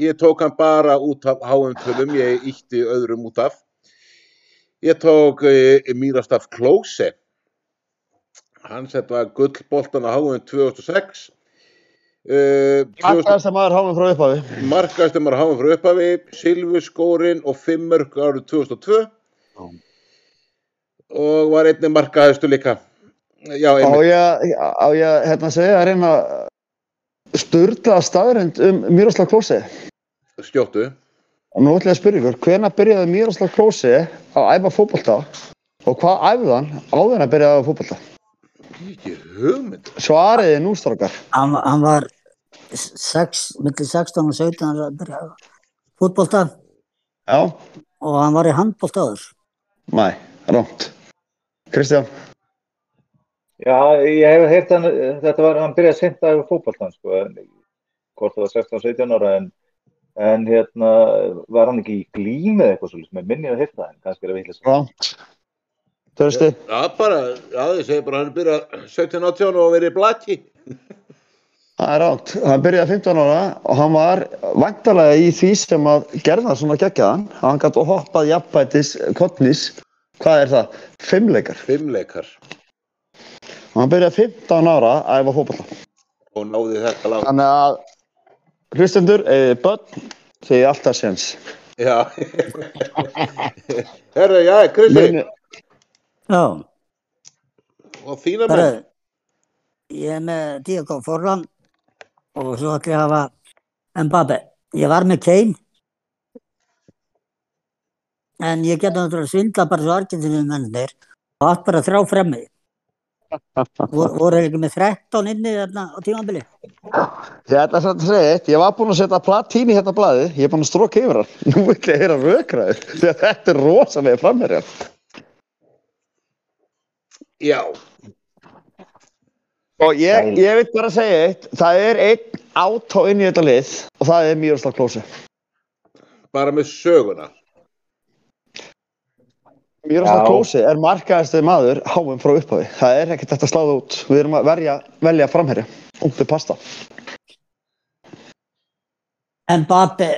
S1: ég tók hann bara út af háum tölum, ég ítti öðrum út af ég tók eh, Mírastaf Klóse hann setja gullboltan á háum 2006 uh,
S3: Alltaf sem maður hámið frá upphafi.
S1: markaðist þegar maður háum frá upphafi Silfuskórin og Fimmörk árið 2002 og var einnig markaðistu líka já,
S3: Á
S1: einmitt,
S3: ég, á ég hérna segja að reyna styrla staðrind um Miroslav Klose.
S1: stjóttu
S3: Og nú ætla ég að spyrja ykkur, hvena byrjaði Miroslav Klose að æfa fótbolta og hvað æfði hann áður en að byrjaði að æfa fótbolta?
S1: ekki hugmynd
S3: Svariði nú, strákar.
S2: Hann, hann var sex, millir 16 og 17 ára að byrja fútbolta
S3: Já.
S2: og hann var í handbolta áður.
S3: Næ, rámt. Kristján.
S4: Já, ég hef heyrt hann, þetta var, hann byrjaði að senda á fótballtann, sko, en, hvort það var 16-17 ára, en, en hérna, var hann ekki í glími eða eitthvað svolítið, með minni að heyrt það, en kannski er það vitlega svo.
S3: Rámt. Törsti.
S1: já, bara, já, ég segi bara hann byrja 17-18 og verið blaki
S3: Það er rámt. Hann byrjaði 15 ára og hann var vantarlega í því sem að gerða svona geggjaðan. Hann gæti hoppað jafnbætis, kottnis. Hvað er það? Fimmleikar.
S1: fimmleikar
S3: Og hann byrjaði 15 ára að æfa fótballa.
S1: og náði þetta langt
S3: Þannig að hlustendur, eða börn, þið er alltaf séns.
S1: já herra, já, Kristi
S3: Muni-
S2: Já,
S1: og þína
S2: bara
S1: menn
S2: ég er með Diego Forlan og svo ætlum ég að hafa Mbappe. Ég var með Kane En ég geta náttúrulega svindla bara svo argentinu mennir og átt bara þrjá fremmi. Vor- Voru þeir ekki með 13 inni þarna á tímabili?
S3: Ég ætla samt að segja eitt, ég var búinn að setja platín í þetta blaði, ég er búinn að stróka yfir hann. Nú vil ég heyra rökraður, því að þetta er rosalega framherjar.
S1: Já,
S3: Og ég,
S4: Sæl.
S3: ég vil bara segja eitt, það er einn átó inn í þetta lið og það er Miroslav Klose.
S1: bara með söguna.
S3: Miroslav
S4: Já.
S3: Klose er markaðasti maður háum frá upphafi. Það er ekkert þetta sláð út, við erum að verja, velja framherja. Umpi pasta.
S2: En Babi,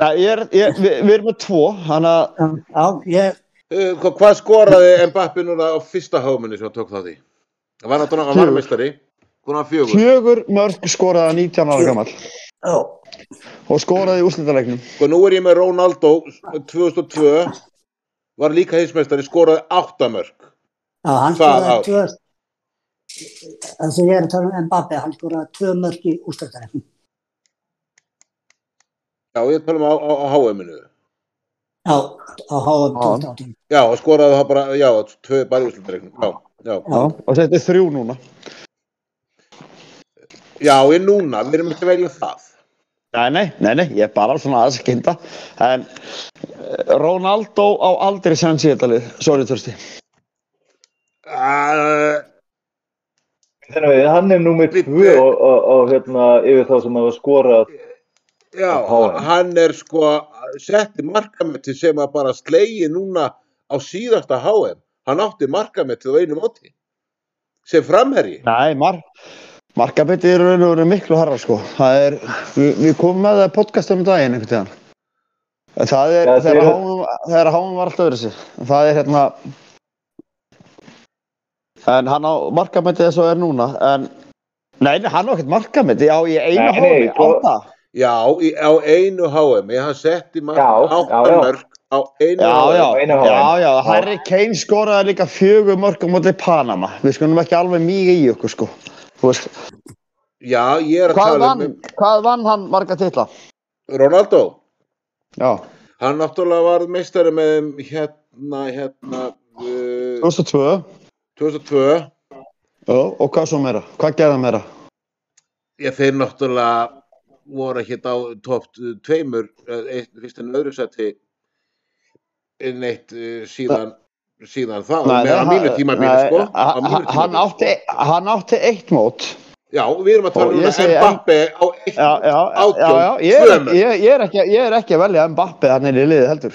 S3: Ja, ég er, ég, við, við erum með tvo, þannig að
S2: já, ég,
S1: Uh, hva- hvað skoraði Mbappi núna á fyrsta háminni sem hann tók þátt í? Það var náttúrulega hann var
S3: Fjögur.
S1: meistari, konar fjögur.
S3: fjögur mörg skoraði hann 19 ára gammal
S2: ó,
S3: og skoraði í úslitaleiknum.
S1: Sko nú er ég með Ronaldo 2002, var líka heimsmeistari, skoraði áttamörk.
S2: já, hann
S1: Hvað ár?
S2: skoraði tvö, það sem ég er að tala um en Babi, hann skoraði tvö mörk í ústættarefnum.
S1: Já, ég tala um á, á, á HM-inu.
S2: Já, á háum 2018.
S1: Já, og skoraði það bara, já, tvö bara úrslutreiknum. Já, já.
S3: Já. Og þetta er þrjú núna.
S1: Já, ég núna, við erum ekki að velja um það.
S3: Nei, nei, nei, nei, ég er bara svona aðeins að kynna. En eh, Ronaldo á aldrei sens í þetta lið, sorry Törsti.
S1: Uh,
S4: Þannig að hann er númið
S1: Bíddu.
S4: tvö og, og, og hérna yfir þá sem hafa skorað
S1: já,
S4: Á HM.
S1: hann er sko setti markamöti sem að bara slegi núna á síðasta HM. Hann átti markamötið á einu móti. Sem framherji.
S3: Nei, mar markabitið eru raun og veru miklu harra sko. Það er, við, við komum með það í podcast um daginn einhvern tíðan. En Það er,
S4: Já,
S3: þegar
S4: þeir-
S3: háum, þegar háum var alltaf öðru sér. Það er hérna, en hann á markabitið þess og er núna, en Nei, nei, hann á ekkert markamiti á í einu
S4: Nei,
S3: hómi,
S4: nei, sko-
S3: átta.
S1: Já, í, á einu HM. Ég hann setti
S4: Já,
S1: markamötið
S4: já, já.
S1: áttamörk á einu
S3: Já, já,
S1: HM.
S4: einu HM.
S3: já, já,
S4: Já.
S3: Harry Kane skoraði líka fjögur mörg á móti Panama. Við skulum ekki alveg mýga í okkur, sko. Þú Veist,
S1: Já, ég er að
S3: hvað,
S1: tala
S3: vann,
S1: um
S3: hvað vann hann marga titla?
S1: Ronaldo.
S3: Já,
S1: Hann náttúrulega var meistari með þeim hérna, hérna, uh,
S3: 2002.
S1: 2002.
S3: Já, og hvað svo meira? Hvað gerði hann meira?
S1: Já, þeir náttúrulega voru ekki á topp eh, tveimur, eh, eitt, fyrst en öðru seti en eitt eh, síðan, síðan þá, með á
S3: hann-
S1: mínu tímabili
S3: nei,
S1: sko, á
S3: hann-
S1: mínu
S3: Hann
S1: tímabili
S3: átti,
S1: sko.
S3: hann átti eitt mót.
S1: Já, við erum að
S3: Og
S1: tala
S3: ég
S1: um
S3: segi
S1: það, Mbappe á eitt,
S3: Já, já, já,
S1: átján,
S3: já, ég er,
S1: tvömur.
S3: ég, ég er, ekki, ég er ekki að velja Mbappi hann er í liðið heldur.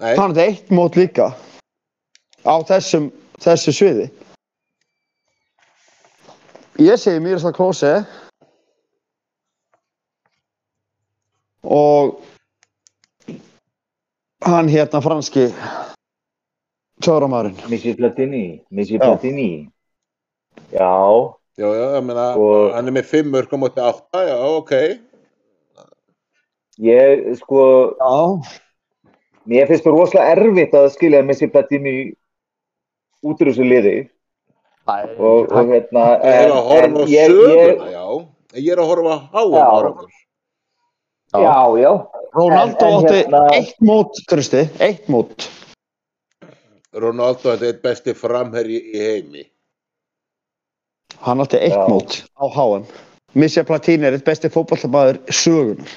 S1: Nei,
S3: Hann átti eitt mót líka á þessum, þessu sviði. Ég segi Miroslav Klose og hann hérna franski tjóramæðurinn.
S4: Missi Platini, Missi
S3: Já.
S4: Platini. Já,
S1: já, já, ég meina,
S3: Sko-
S4: Og-
S1: hann er með fimm mörg á móti átta, já, ok,
S4: ég sko,
S3: Já,
S4: mér finnst það rosalega erfitt að skilja Missi Platini út úr þessu liði og, og hérna
S1: ég er að horfa á
S4: ég- ég-
S1: söguna, já, ég er að horfa á háum
S4: Já.
S1: árangur.
S4: Já, já,
S3: Ronaldo
S4: En- en
S3: átti
S4: hérna-
S3: eitt mót, Kristi, eitt mót.
S1: Ronaldo, þetta er eitt besti framherji í heimi.
S3: Hann átti eitt
S4: Já.
S3: mót á HM. Misja Platini er eitt besti fótballtamaður sögunar.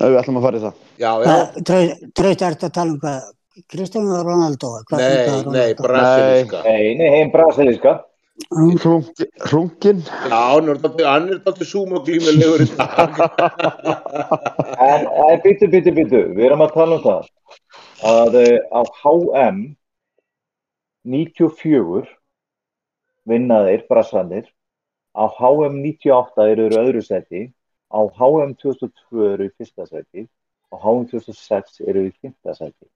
S3: Ef við ætlum að fara í það.
S1: Já, já,
S2: Traust er að tala um hvað, Kristján og Ronaldo, hvað
S1: nei,
S2: hvað
S1: nei,
S2: Ronaldo?
S1: brasilíska.
S4: nei, nei, heim brasilíska
S2: Hún
S3: Hrungi, hrungin.
S1: Já, hann er dálítið- hann er alltaf súmoglímulegur í dag.
S4: En, en byttu, byttu, byttu, við erum að tala um það að eh, á HM 94 vinnaðir brassandir, á HM 98 eru þeir í öðru seti, á HM 2002 eru í fyrsta seti, á HM 2006 eru í fyrsta seti.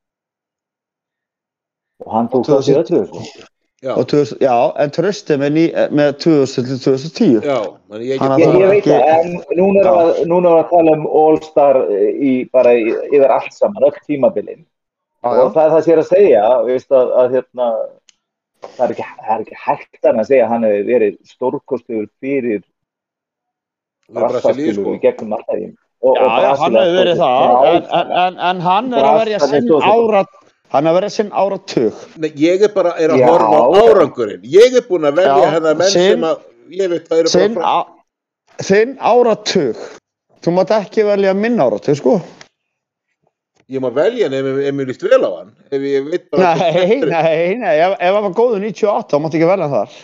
S4: Og hann tók það til öllu þessu.
S1: Já,
S3: Og 2000, já, en trösti með, ný, eh, með 2000 til 2010.
S1: já, þannig ég
S3: Hann
S1: get
S4: Ég, ég
S1: bara,
S4: veit það, en núna erum við að- núna erum við að tala um All-Star eh, í, bara í, yfir allt saman, öll tímabilin. og það er það sem ég er að segja veist, að, að hérna það er ekki, það er ekki hægt hann að segja að hann hefur verið stórkostuður fyrir
S1: við erum Brasilíu
S4: rassaskilur
S1: sko.
S4: í gegnum alltaf og,
S3: Já,
S4: og
S3: já, hann hefur verið það, en, en, en, en hann er að verja
S4: Brasilia
S3: sinn
S4: stóð sig.
S3: árat, hann er að verja sinn áratug.
S1: Nei, ég er bara er að
S4: Já.
S1: horfa á árangurinn. Ég er búin að velja
S3: Já,
S1: hennar menn
S3: sinn-
S1: sem að, ég veit það eru bara
S3: Sinn, á, sinn áratug, þú mátt ekki velja minn áratug, sko.
S1: Ég má velja hann ef, ef mér líst vel á hann. Ef ég veit bara...
S3: Nei, nei, nei, ef ef hann var góður 98, þá mátt ekki velja hann þar.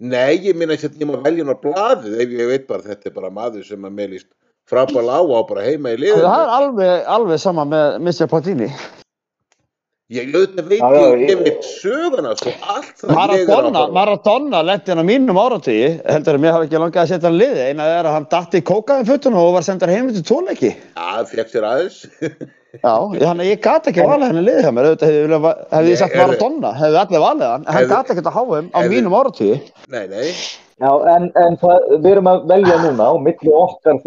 S1: Nei, ég minna ekki að ég má velja hann á blaðið ef ég veit bara að þetta er bara maður sem að mér líst frábæl á á bara heima í liðinu.
S3: Það er alveg, alveg sama með Mr. Platini.
S1: Ég auðvitað veit,
S4: Já, já,
S1: ég, ég
S4: ég-
S1: veit söguna sko, allt það ég er að
S3: Maradona,
S1: horfa á.
S3: Maradona lendi hann á mínum áratugi, heldur að mér hafi ekki langað að setja hann í liðið, eina er að hann datti í kókaðin fötuna og var sendar heim til tónleiki.
S1: Já, það fekk sér aðeins.
S3: Já, ég- þannig að ég gat ekki valið henni liðið hjá mér, auðvitað hefði, ég viljað va- hefði
S1: Nei,
S3: ég sagt
S1: heyrðu.
S3: Maradona, hefði allir valið hann, en
S1: Heyrðu.
S3: hann gat ekki að háa um á
S1: Heyrðu.
S3: mínum áratugi.
S1: nei, nei.
S4: Já, en, en það, við erum að velja núna og milli okkar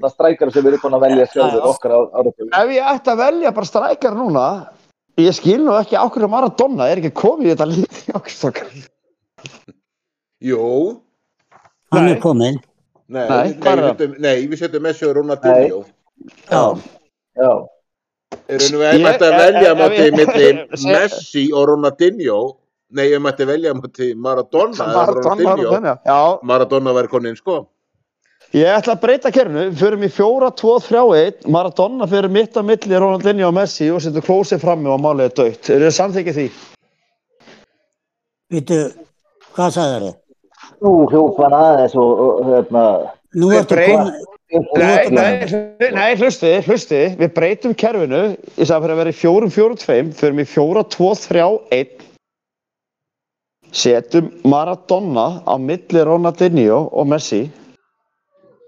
S4: það strækar sem við erum búin að velja sjálfur okkar á áratum.
S3: Ef ég ætti að velja bara strækjar núna, ég skil nú ekki á hverju Maradona er ekki komið í þetta liðið hjá okkur strókar.
S1: Jú,
S2: Hann
S3: Nei.
S2: er kominn.
S1: nei,
S3: Nei,
S1: nei,
S3: bara-
S1: við setjum- nei, við setjum Messi og Ronaldinho.
S2: Já.
S4: Já,
S1: Erum við
S3: Ég-
S1: ætti að
S3: e-
S1: velja
S3: e-
S1: á
S3: ef ég-
S1: milli
S3: Se-
S1: Messi og Ronaldinho? Nei, ég mætti velja á milli Maradona eða
S3: Maradona,
S1: Ronaldinho.
S3: Maradona, já,
S1: Maradona væri koninn sko.
S3: Ég ætla að breyta kerfinu, förum í 4-2-3-1, Maradona fyrir mitt á milli Ronaldinho og Messi og setur klósið frammi og málið er dögt. Eru þið samþykkið því?
S2: Vitu, hvað sagður þau?
S4: nú hljóf hann aðeins og, og hérna...
S2: Nú
S3: Við
S2: ertu
S3: breyn-
S2: kominn.
S4: og-
S3: Nei,
S2: ert að
S3: nei, hlusti, nei, hlusti, hlusti, við breytum kerfinu, í stað fyrir að vera í 4-4-2, förum í 4-2-3-1, setum Maradona á milli Ronaldinho og Messi.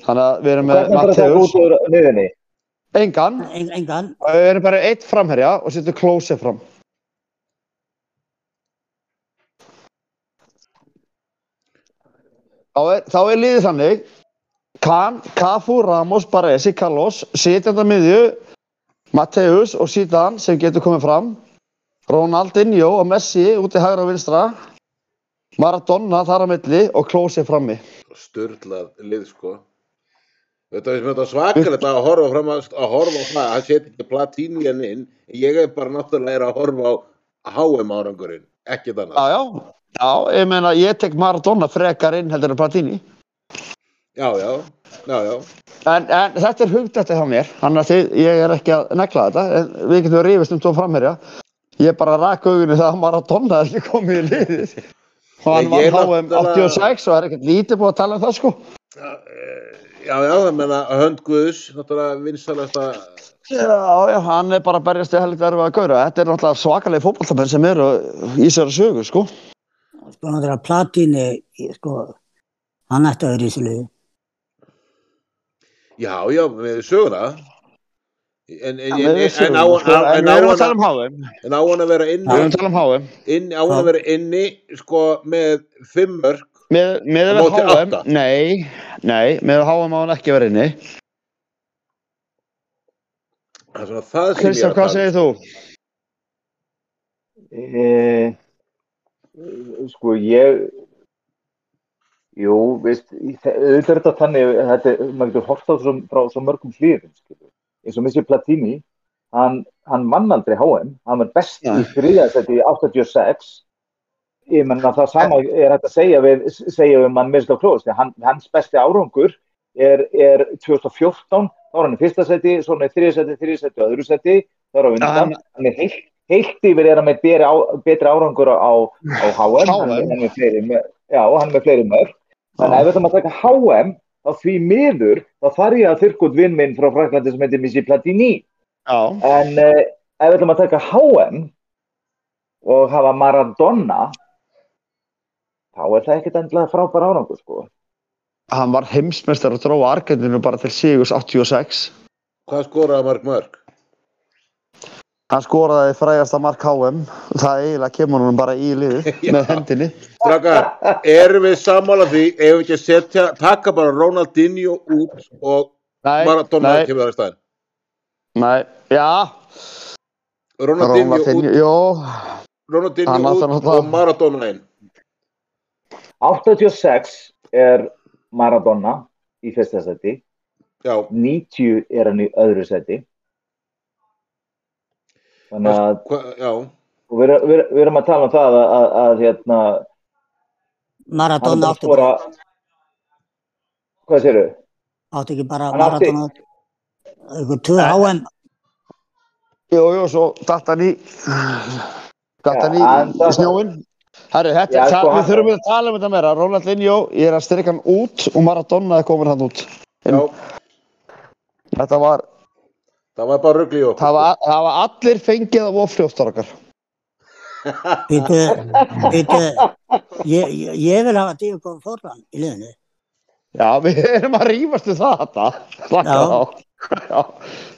S3: Þannig að við erum með
S4: Hvernig bara það
S3: Mateus,
S4: út úr niðurni?
S3: engan,
S2: En- Engan.
S3: og við erum bara eitt framherja og setur klósið fram. Þá er, þá er liðið þannig Kahn, Cafu, Ramos, Baresi, Carlos sitjandi að miðju Mateus og Zidane sem getur komið fram Ronaldinho og Messi úti hægra og vinstra Maradona þar á milli og Klósi frammi
S1: Sturlað lið sko. Þetta finnst mér þetta svakalegt að horfa fram að, að horfa á það. Hann seti ekki platínian inn. Ég er bara náttúrulega að horfa á HM árangurinn. Ekkert annað.
S3: Já, já, já, ég meina ég tek Maradona frekar inn heldur en Platini
S1: Já, já, já, já.
S3: En, en þetta er hugdætti hjá mér, hann að þið, ég er ekki að negla þetta, en við getum að rífast um tvo framherja. Ég bara rak augunni það að Maradona er ekki komið í liðið. Og hann
S1: Ég- ég
S3: vann
S1: er
S3: HM
S1: náttúrulega-
S3: 86 og það er ekkert lítið búið að tala um það sko.
S1: Já, já, það menna hönd Guðs, náttúrulega vinsalasta,
S3: Já, já, hann er bara að berjast í helgt verfið að gaura. Þetta er náttúrulega svakalegi fótballtamenn sem eru í sér að sögu sko.
S2: Sko, hann er að platínu, sko, hann ætti að vera í þessu liði.
S1: já, já, með söguna. En, en, en,
S3: Við
S1: en,
S3: sögum,
S1: á,
S3: sko.
S1: á,
S3: En
S1: en,
S3: við
S1: á,
S3: erum að
S1: hana,
S3: tala um HM,
S1: en á hann að vera inni,
S3: við erum að tala um HM.
S1: inni, á hann að vera inni, sko, með fimm mörg,
S3: Með, með
S1: Á
S3: við
S1: móti
S3: HM,
S1: átta.
S3: nei, nei, með við HM á hann ekki verið inni.
S1: það er svona það sem
S3: Kristján,
S1: ég er
S3: hvað
S1: að tala. um-
S3: segir þú?
S4: E, sko ég jú, veist í- þe- auðvitað er þetta þannig þetta, er- maður getur hort á svo, frá svo mörgum hlýðum eins og Missi Platini hann, hann vann aldrei HM hann var best
S3: Já.
S4: í þriðasæti í 86 ég menna það sama er hægt að segja við segja við mann Missi Klós hann, hans besti árangur er, er 2014 þá er hann í fyrsta seti, svona í þriðasæti, þriðasæti og öðru seti, þá er hann
S3: Já, hann-
S4: vinnan hann er heilt heilt yfir er hann með betri, á, betri árangur á, á HM, hann,
S3: HM.
S4: hann er fleiri, mör- já, hann er með fleiri mörg þannig að ef við ætlum að taka HM þá því miður, þá þarf ég að þurrkut vinn minn frá Fraklandi sem heitir Missi Platini
S3: Já.
S4: en uh, ef við ætlum að taka HM og hafa Maradona þá er það ekkert endilega frábær árangur sko.
S3: hann var heimsmeistar að dróa Argentinu bara til Sigurs 86
S1: Hvað skoraði marg mörg?
S3: hann skoraði frægasta mark HM það eiginlega kemur hann bara í liðu
S1: Já.
S3: með hendinni
S1: Strákar, erum við sammála því, ef við ekki að setja, taka bara Ronaldinho út og
S3: nei,
S1: Maradona
S3: nei,
S1: kemur það í staðin.
S3: nei, já
S1: Ronaldinho
S3: Ronaldinho,
S1: út,
S3: jú Hann
S1: Ronaldinho
S3: átti
S1: út
S3: náttúrulega-
S1: og Maradona inn.
S4: 86 er Maradona í fyrsta seti
S1: já,
S4: 90 er hann í öðru seti þannig að
S1: hva, já,
S4: og við, við, við erum að tala um það að, að, að hérna hann er
S2: Maradona
S4: bara að
S2: átti,
S4: skora hvað séru?
S2: átti ekki bara
S4: Hann átti-
S2: Maradona ykkur tvö HM
S3: Jú, jú, svo datt hann í datt
S4: Já,
S3: hann
S4: hann
S3: í
S4: datt-
S3: snjóin Herru, þetta,
S4: Já,
S3: það,
S4: sko, hann-
S3: við þurfum að tala um þetta meira Róland Linjó, ég er að styrka hann út og Maradona er komin hann út
S1: já,
S3: Þetta var,
S1: það var bara rugli í okkur.
S3: það var, það var allir fengið af ofljóstar okkar
S2: býtu, býtu ég, ég, ég vil hafa Diego Forlan í liðinu
S3: Já, við erum að rýfast við það þetta Slaka
S2: Já.
S3: þá Já.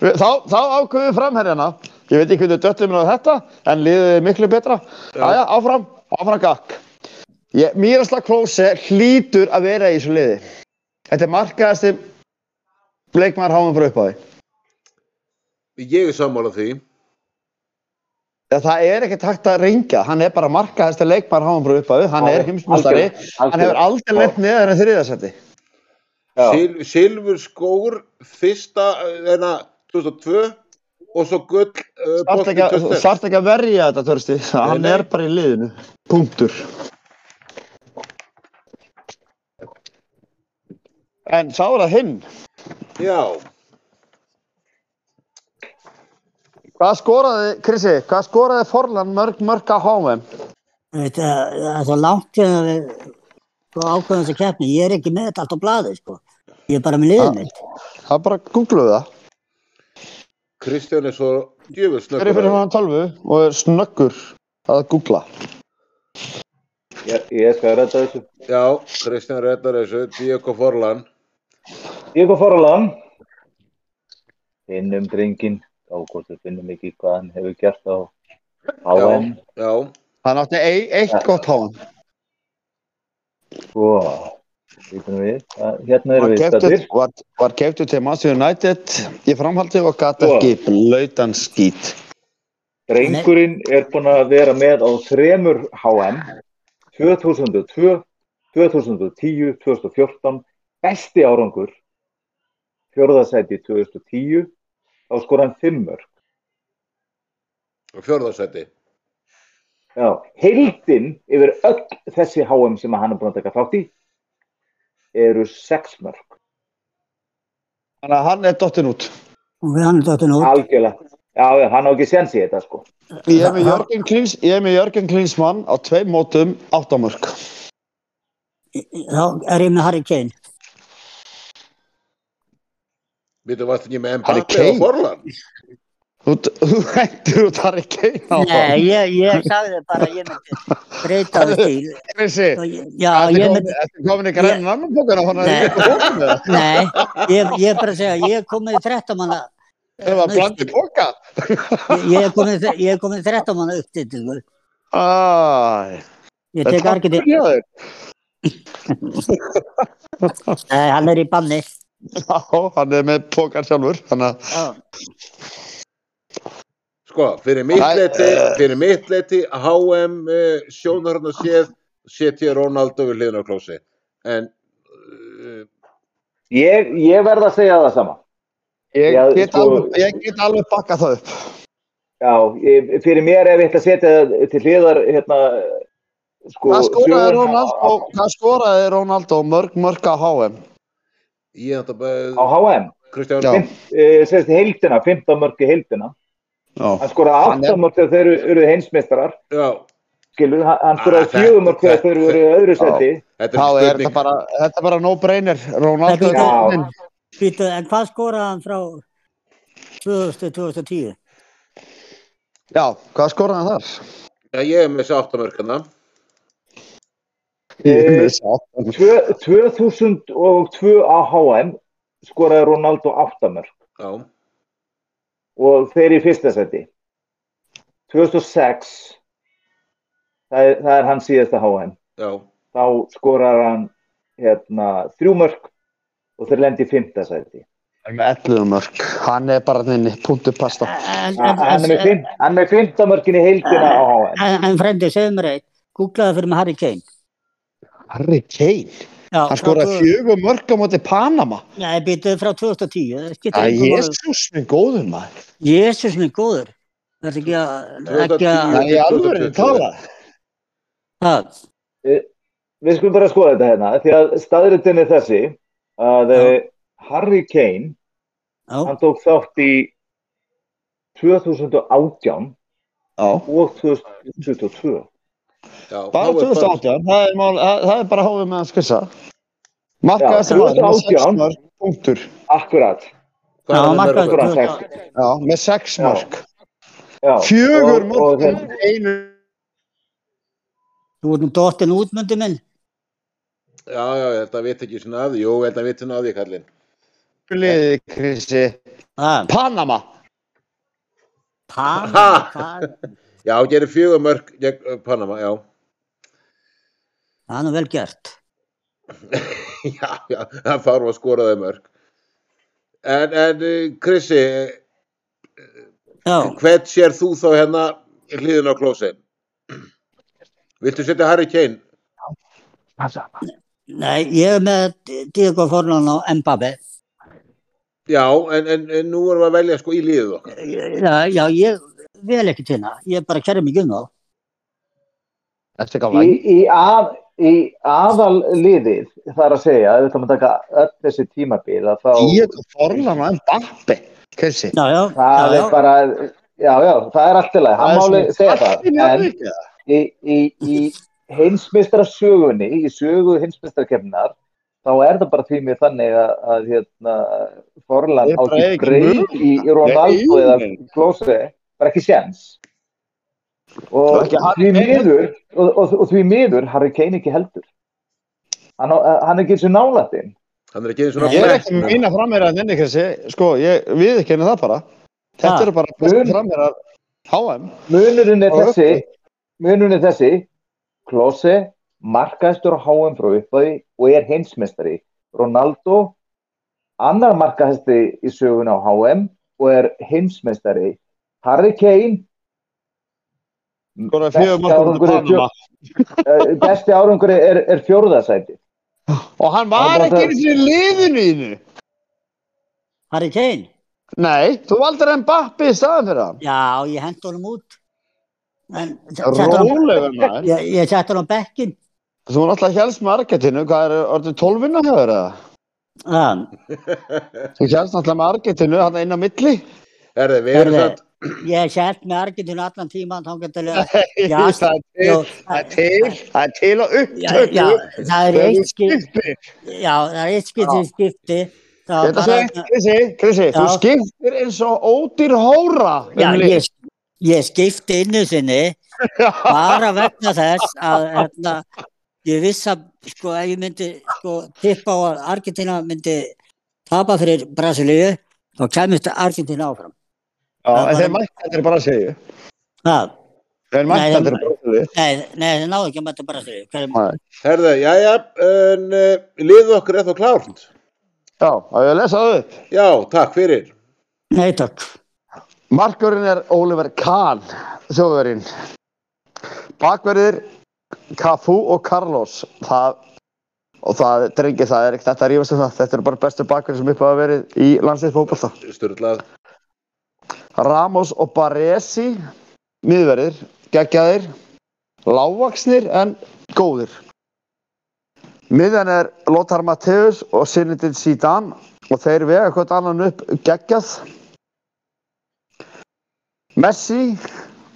S3: Við- Þá, þá ákveðum við framherjana Ég veit ekki hvernig döttum við á þetta en liðið er miklu betra Já, já, áfram, áfram gakk Ég- Mírasla Klóse hlýtur að vera í þessu liði Þetta er markaðasti leikmaður háum frá uppáði
S1: Ég er sammála því.
S3: Já, það er ekkert hægt að ringja, hann er bara markaðasti leikmaður háum frá uppáði, hann
S4: Já,
S3: er heimsmyndari
S4: algjörlega,
S3: hann hefur
S4: algjörlega.
S3: aldrei lett neðar en þriðasetti
S4: Já,
S1: Sil, silfur skór, fyrsta, hérna, þeirna, 2002 og svo gull uh,
S3: Þarft ekki, að- þú
S1: 2000.
S3: þarft ekki að verja þetta törsti, hann
S1: nei.
S3: er bara í liðinu. Punktur. En sá er það hinn.
S1: Já,
S3: Hvað skoraði, Krissi, hvað skoraði Forlan mörg mörg að hámum?
S2: Þetta er svo langt sem að við sko, ákveðum þessu keppni. Ég er ekki með þetta allt á blaði, sko. Ég er bara með liðið mitt.
S3: Það er bara að googluðu það.
S1: Kristján er svo djöfur
S3: Þeir eru fyrir
S1: snöggur.
S3: hann tölvu og er snöggur að googla.
S4: ég, ég skal ræta þessu
S1: Já, Kristján reddar þessu, Diego Forlan.
S4: Diego Forlan finnum drengin á hvort við finnum ekki hvað hann hefur gert á HM
S1: Já,
S3: Hann átti ei, eitt gott háum.
S4: sko bíddu nú við. Að- hérna erum
S3: Var
S4: við
S3: keftur,
S4: stættir
S3: var, var keftur til Master United í framhaldi og gata
S4: Sko.
S3: ekki blöytan skít.
S4: drengurinn er búinn að vera með á þremur HM 2002 2010, 2014 besti árangur fjörðasæti 2010 þá skor hann fimmur
S1: fjörðarsæti.
S4: Já, heildin yfir öll þessi HM sem hann er búinn að taka þátt í eru sex mörg,
S3: Þannig að hann er dottin út.
S2: Og við hann er dottin út.
S4: algjörlega. Já, já, hann á ekki sens í þetta sko.
S3: Ég er með Jörgen Klins, ég er með Jörgen Klinsmann á tveim mótum áttamörk.
S2: Þá er ég með Harry Kane.
S1: Við þú varst ekki með
S3: Harry
S1: Mbappe og
S3: Kane?
S1: Forlan.
S3: Þú þú hættir út Harry Kane á
S2: Nei, ég, ég sagði bara að ég myndi breyta um stíl.
S3: Krissi,
S2: Og ég- Já,
S3: ertu
S2: ég
S3: komin-
S2: myndi...
S3: ertu komin í grænan annan bókan á hann að
S2: Nei.
S3: ég kom með það?
S2: Nei, ég, ég er bara að segja, ég er komið í 13 manna,
S3: Það var blandi bóka.
S2: ég- ég er komið, ég er komið í 13 manna uppstillingu.
S3: Æ,
S2: Ég tek argiti,
S3: þér.
S2: nei, hann er í banni.
S3: Já, hann er með bókan sjálfur, þannig að
S2: Já,
S1: Sko, fyrir mitt
S3: Æ,
S1: leiti,
S3: eh.
S1: fyrir mitt leiti, HM uh, sjónarinn að séð, setja Ronaldo við hliðin á klósi. En uh,
S4: Ég, ég verð að segja það sama. Já,
S3: ég get
S4: sko-
S3: alveg, ég get alveg bakkað það upp.
S4: Já, ég, fyrir mér ef ég ætla að setja það til hliðar hérna, sko,
S3: Hvað skoraði
S4: söguna
S3: Ronaldo, hvað skoraði Ronaldo mörg mörg á HM?
S1: ég ætla
S4: á
S1: bara,
S4: HM,
S1: Kristján,
S3: Já.
S4: uh, sérst heildina, 15 mörg í heildina.
S3: Já.
S4: Hann skoraði
S3: Hann er-
S4: 8 mörg þegar þeir eru- eru heimsmeistarar,
S1: já,
S4: skilu, hann hann
S1: Ah,
S4: skoraði
S1: þetta-
S4: 4 mörg þegar þeir eru í öðru
S3: Já.
S4: seti.
S1: þetta
S3: Þá
S1: er
S3: er þetta
S1: spurning.
S3: bara, þetta er bara no brainer. Ronaldo er
S2: Já.
S3: dottin.
S2: Býtu, en hvað skoraði hann frá 2000-2010?
S3: Já, hvað skoraði hann þar?
S1: Já, ég er með þessi hérna. áttamörkana.
S3: Ég er
S4: Eh,
S3: með satan.
S4: Tvö- 2002 á HM skoraði Ronaldo 8 mörg.
S1: Já,
S4: og þeir í fyrsta seti 2006 það er, það er hann síðasta HM
S1: já,
S4: þá skorar hann hérna, þrjú mörg og þeir lendi í fymta seti
S3: Hann er með 11 mörg. Hann er bara nynni, punktu pasta.
S2: En, en,
S4: Ah, hann er
S2: en,
S4: með fimm- hann er með fymta mörgin í heildina á HM
S2: en, en frendi, segðu mér eitt, googlaðu fyrir mig Harry Kane.
S3: Harry Kane.
S2: Já,
S3: Hann skoraði fjögur mörg á móti Panama.
S2: Nei, býtuð frá 2010. það skiptir
S3: Það
S2: engu
S3: er
S2: máli.
S3: jésús minn góður maður.
S2: Jesús minn góður. Það er ekki að... Ekki að
S1: 2010.
S3: Það er alveg að tala.
S2: það.
S4: Eh, Við skulum bara skoða þetta hérna, því að staðritin er þessi að
S2: Já.
S4: eh, Harry Kane,
S2: Já,
S4: hann tók þátt í 2018
S3: Já.
S4: og 2022.
S1: Já,
S3: Bara
S1: þá er
S3: 2018, það er, mál, það, það er bara hófið með hans kvissa. Marka
S4: Já,
S3: þessi maður með
S4: 2018.
S3: 6 mark, punktur.
S4: Akkurat,
S1: Hvað er
S2: Já,
S1: það
S2: markaður.
S1: mörg?
S4: akkurat
S2: Já.
S4: sagt.
S3: Já, með 6
S4: Já.
S3: mark.
S4: Já,
S3: Fjögur
S4: og- og
S3: mark,
S4: þeim-
S3: einu.
S2: þú ert nú dóttin útmundi minn.
S1: Já, já, þetta veit ekki svona að því. Jú, þetta veit svona að því, Kallin.
S3: liði, Krissi.
S2: Það,
S3: Panama.
S2: Panama,
S1: Ha!
S2: hvað?
S1: Já, gerir fjögur mörg gegn uh, Panama, já.
S2: Það er nú vel gert.
S1: já, já, það fárum að skora þau mörg. En, en, uh, Krissi,
S2: Já,
S1: hvert sér þú þá hérna hliðin á klósin? Viltu setja Harry Kane?
S2: nei, ég er með Diego Forlan og Mbappé.
S1: Já, en, en, en nú erum við að velja sko í liðið okkar.
S2: Já, já, ég vel ekki tina. Ég bara kerði mig um þá.
S3: Þetta er
S4: Í,
S3: gamla.
S4: í, að, í aðal liðið þar að segja, ef við ætlum að taka öll þessi tímabil að þá
S3: Díego Forlan og Mbappi. Krissi.
S2: Já, já,
S4: það
S2: já,
S4: er bara, já, já, það er allt í lagi, hann máli segja það, en
S3: En,
S4: í, í, í heimsmeistra sögunni, í sögu heimsmeistra þá er það bara því mér þannig að, að hérna, Forlan
S3: Ég
S4: á
S3: bara
S4: ekki
S3: hef ekki
S4: breyð í
S3: möguleika.
S4: Ronaldo
S3: Nei,
S4: eða
S3: nei.
S4: Klose, bara ekki séns.
S3: Það er
S4: Og
S3: ekki Harry
S4: því
S3: Kane.
S4: miður, og, og, og því miður, Harry Kane ekki heldur. Hann, á- hann er ekki eins og nálættinn.
S1: Hann er ekki eins og
S3: ég er ekki með eina framherra en þinni, Krissi. Sko, ég við ekki henni það bara. Þetta
S2: Ha.
S3: eru bara bestu
S4: Mun.
S3: framherrar HM.
S4: Munurinn er
S3: Og
S4: þessi, munurinn er þessi, Klose markaðistur á HM frá uppæði og er heimsmeistari. Ronaldo annar markaðisti í sögun á HM og er heimsmeistari. Harry Kane
S3: Skoraði
S4: Besti
S3: fjögur mark
S4: árangur
S3: með
S4: er
S3: Panama.
S4: eh, besti árangur er, er fjórðasæti.
S3: Og hann var
S4: Hann var
S3: ekki
S4: það-
S3: eins og liðinu í þinu.
S2: Harry Kane.
S3: Nei, þú valdur Mbappi í staðan fyrir hann.
S2: Já, ég hendi honum út. En settur hann,
S3: Rólegur maður.
S2: ég, ég settur hann á bekkin.
S3: Þú náttúrulega helst með Argentínu, hvað er orðin 12 vinna hefur eða?
S2: Það,
S3: Þú helst náttúrulega með Argentínu hann inn á milli.
S1: Herði, við erum
S2: Herðu.
S1: satt.
S2: ég set með Argentinu allan tíman þá getur ég Já,
S3: það er til,
S2: jú,
S3: það er til, það er til að
S2: Já,
S3: upptöku.
S2: já, það er eitt skipti,
S3: skiptir.
S2: já, það er eitt skipti sem skipti. þá
S3: Þetta
S2: bara-
S3: segir, Krissi, Krissi, þú
S2: Já.
S3: skiptir eins og ódýr hóra. um
S2: Já,
S3: lið.
S2: ég, ég skipti innu sinni bara vegna þess að hérna, ég viss að sko, ef ég myndi sko, tippa á að Argentina myndi tapa fyrir Brasilíu þá kemist Argentina áfram.
S3: Já, en
S2: það
S3: þeir
S2: var-
S3: mættandir bara að segja.
S2: Það,
S3: Þeir
S2: Nei,
S3: mættandir
S2: þeir-
S3: bara að segja.
S2: nei, nei, það náðu ekki að mæta Brasilíu. Hverjum,
S1: Herði, já, já, en uh, liðið okkar er þá klárt.
S3: Já, að ég að lesa það upp.
S1: Já, takk fyrir.
S2: nei, takk.
S3: Markurinn er Oliver Kahn, þjóðverinn. Bakverðir Cafu og Carlos. Það, og það, drengi, það er ekkert þetta að rífast um það. Þetta eru bara bestu bakverðir sem upp hafa verið í landsleitt fótbolta.
S1: Sturlað.
S3: Ramos og Baresi, miðverðir, geggjaðir, lágvaksnir en góðir. Miðjan er Lothar Matthäus og Sinidin Zidane og þeir vega hvort annan upp geggjað. Messi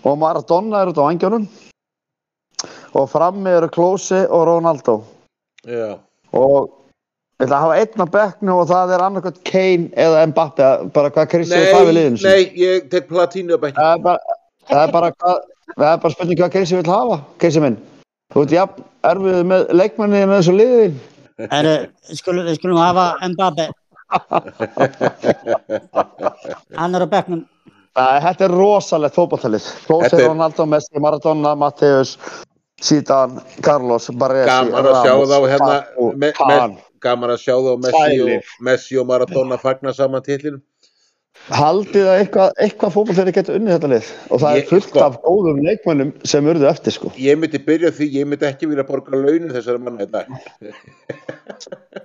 S3: og Maradona eru út á angjónum og frammi eru Klose og Ronaldo
S1: Já,
S3: og ég ætla að hafa einn á bekknu og það er annarkvæmt Kane eða Mbappe, bara hvað Kristi er það við
S1: nei,
S3: liðinu sínu.
S1: nei, ég tek platínu upp ekki.
S3: Það er bara, það er bara, hvað, það er bara spurning hvað Geysi vil hafa, Geysi minn. Þú ert jafn erfið með leikmanni með þessu liðin.
S2: Heru, skulum, við skulum hafa Mbappe, hann er á bekknum.
S3: Það, þetta er rosalegt fótballtalið. Klósi,
S1: Þetta er-
S3: Ronaldo, Messi, Maradona, Matteus, Zidane, Carlos, Baresi,
S1: Gaman að sjá þá hérna,
S3: Papu,
S1: me, me,
S3: Kahn.
S1: gaman að sjá þá Messi
S3: Sælir.
S1: og, Messi og Maradona fagna saman titlinu.
S3: haldið að eitthvað, eitthvað fótball þeirri getur unnið þetta lið og það
S1: Ég-
S3: er fullt
S1: sko-
S3: af góðum leikmönnum sem urðu eftir sko.
S1: Ég myndi byrja á því, ég myndi ekki vilja borga launum þessara manna í dag.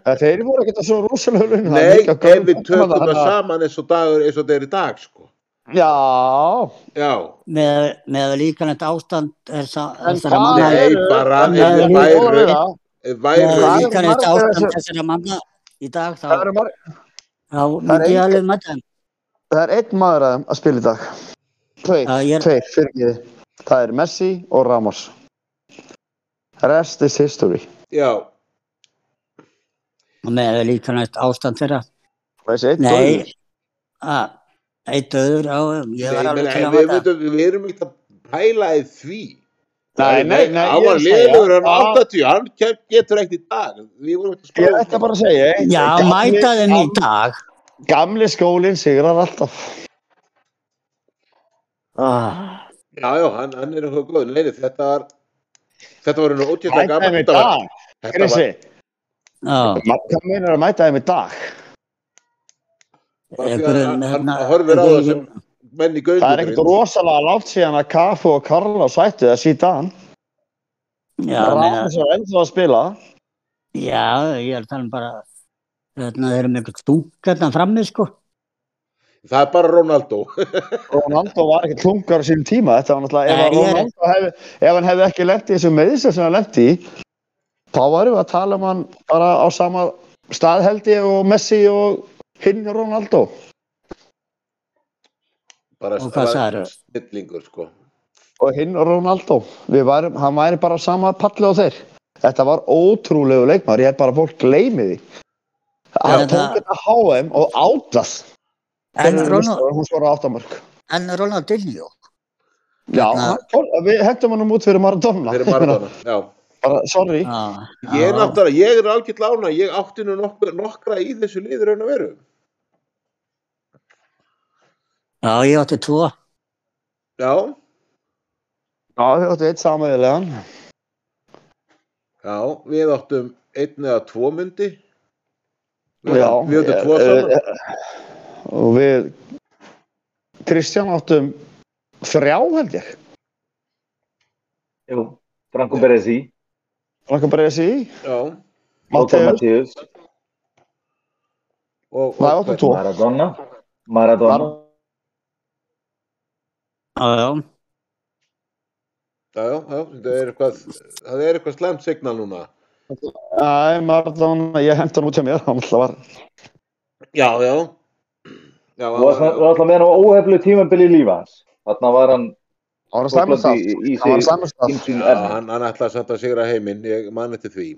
S3: En Þeir voru ekki svo rosalega laun það er
S1: Nei,
S3: líka
S1: ef
S3: gaman-
S1: við tökum
S3: gaman að-
S1: það saman eins og dagur eins og það er í dag, sko.
S3: Já,
S1: Já,
S2: með, með líkanlegt ástand þessa,
S3: en
S2: þessara
S3: hvað
S2: manna
S1: Nei,
S3: eru
S1: bara
S3: en
S2: ef
S3: það
S2: við
S3: er líka
S1: værum-
S3: góðra við það.
S1: ef
S2: með
S3: hvað eru
S1: væri,
S3: líka-
S2: líkanlegt
S3: margar
S2: ástand
S3: þessu-
S2: þessara manna í dag þá,
S3: það eru mar-
S2: þá
S3: það
S2: myndi
S3: er
S2: ég
S3: engin-
S2: alveg mæta þeim
S3: það er einn maður að, að spila í dag tveir,
S2: Já, ég er-
S3: tveir, fyrir það er Messi og Ramos rest is history
S1: já,
S2: og með líkanlegt ástand þeirra
S3: þessi einn
S2: Nei,
S3: dóður
S2: að, eitt öður á þeim, ég
S1: Nei,
S2: var
S1: menn,
S2: alveg til
S1: en
S2: að
S1: við,
S2: mæta.
S1: við, við erum ekkert að pæla í því
S3: Nei, nei, nei,
S1: Hann
S3: ég er
S1: var
S3: að segja-
S1: liður, hann var
S3: Já.
S1: 80 Hann ke- getur ekkert í dag Við vorum ekki
S3: ég
S1: að
S3: ætla
S1: spá
S3: bara að segja eitt,
S2: Já,
S3: gamli-
S2: mæta þeim í
S3: gam-
S2: dag.
S3: gamli skólinn sigrar alltaf ah,
S1: Já, já, hann, hann er eitthvað góð Nei, nei, þetta var Þetta var nú ótjöta
S3: mæta þeim í dag
S1: Þetta
S3: Grissi,
S1: var
S2: Já,
S3: hvað meinar að mæta þeim í dag
S1: bara því að
S2: einhverjum,
S1: hann-
S2: hérna,
S1: hann horfir á það sem
S2: einhverjum-
S1: menn í
S3: það er ekkert
S1: gauðum
S3: rosalega látt síðan að Kafu og Karla sættu það síðan
S2: já, meina,
S3: Ramos er ennþá að spila
S2: já, ég er að tala um bara, hérna, þeir eru með einhvern stúk hérna frammi, sko.
S1: Það er bara Ronaldo
S3: Ronaldo var ekkert klungar á sínum tíma þetta var náttúrulega, ef,
S2: Nei,
S3: að
S2: ég er-
S3: Ronaldo hef, ef hann hefði ekki lent í þessum meðisum sem hann lent í þá varum við að tala um hann bara á sama stað held ég og Messi og hinn Ronaldo
S1: bara,
S2: Og hvað sagðirðu?
S1: Snillingur, sko
S3: og hinn Ronaldo Við varum, hann væri bara á sama palli á þeir þetta var ótrúlegu leikmar ég held bara að fólk gleymi því hann
S2: þetta-
S3: tók þetta HM og átað
S2: En
S3: Þegar
S2: Ronald-
S3: hún skoraði áttamörk
S2: en Ronaldinho,
S3: já,
S2: Þarna-
S3: hann, við hendum hann um út fyrir Maradona
S1: Þeir eru Maradona, já
S3: bara, sorry
S2: já,
S1: Ég er
S2: Ah, já,
S1: náttúrulega, ég er ágætt lána, ég átti nú nokkra, nokkra í þessu liður en að veru.
S2: já, ég átti tvo,
S1: Já,
S3: já, þau áttu eitt samæðilegan
S1: já, við áttum einn eða tvo myndi. Við-
S3: Já,
S1: Við áttum tvo
S3: eh,
S1: saman.
S3: eh, Og við Kristján áttum þrjá held ég
S4: Jú, Franco Beresi
S3: Rankan Bresi,
S1: Já,
S4: Lothar
S3: Mateus,
S4: Matthäus,
S1: og...
S3: Nei,
S1: og-
S3: áttum tvo
S4: Maradona Maradona,
S3: Mar-
S2: já, já,
S1: Já, já, já, það er eitthvað, það er eitthvað slemt signal núna.
S3: Æ, Maradona, ég hendi hann út hjá mér Hann alltaf var
S1: Já, já. Já,
S4: það var
S1: já,
S4: það var alltaf með hann á óheflu tímabili lífa hans þarna var hann
S3: Hann var
S4: Skotlandi
S3: slæmastaf
S4: í- í
S3: Hann var
S4: sig-
S3: slæmastaf
S4: hinsinn
S1: já,
S4: erfið
S1: hann, hann ætlaði samt að sigra heiminn, ég man eftir því.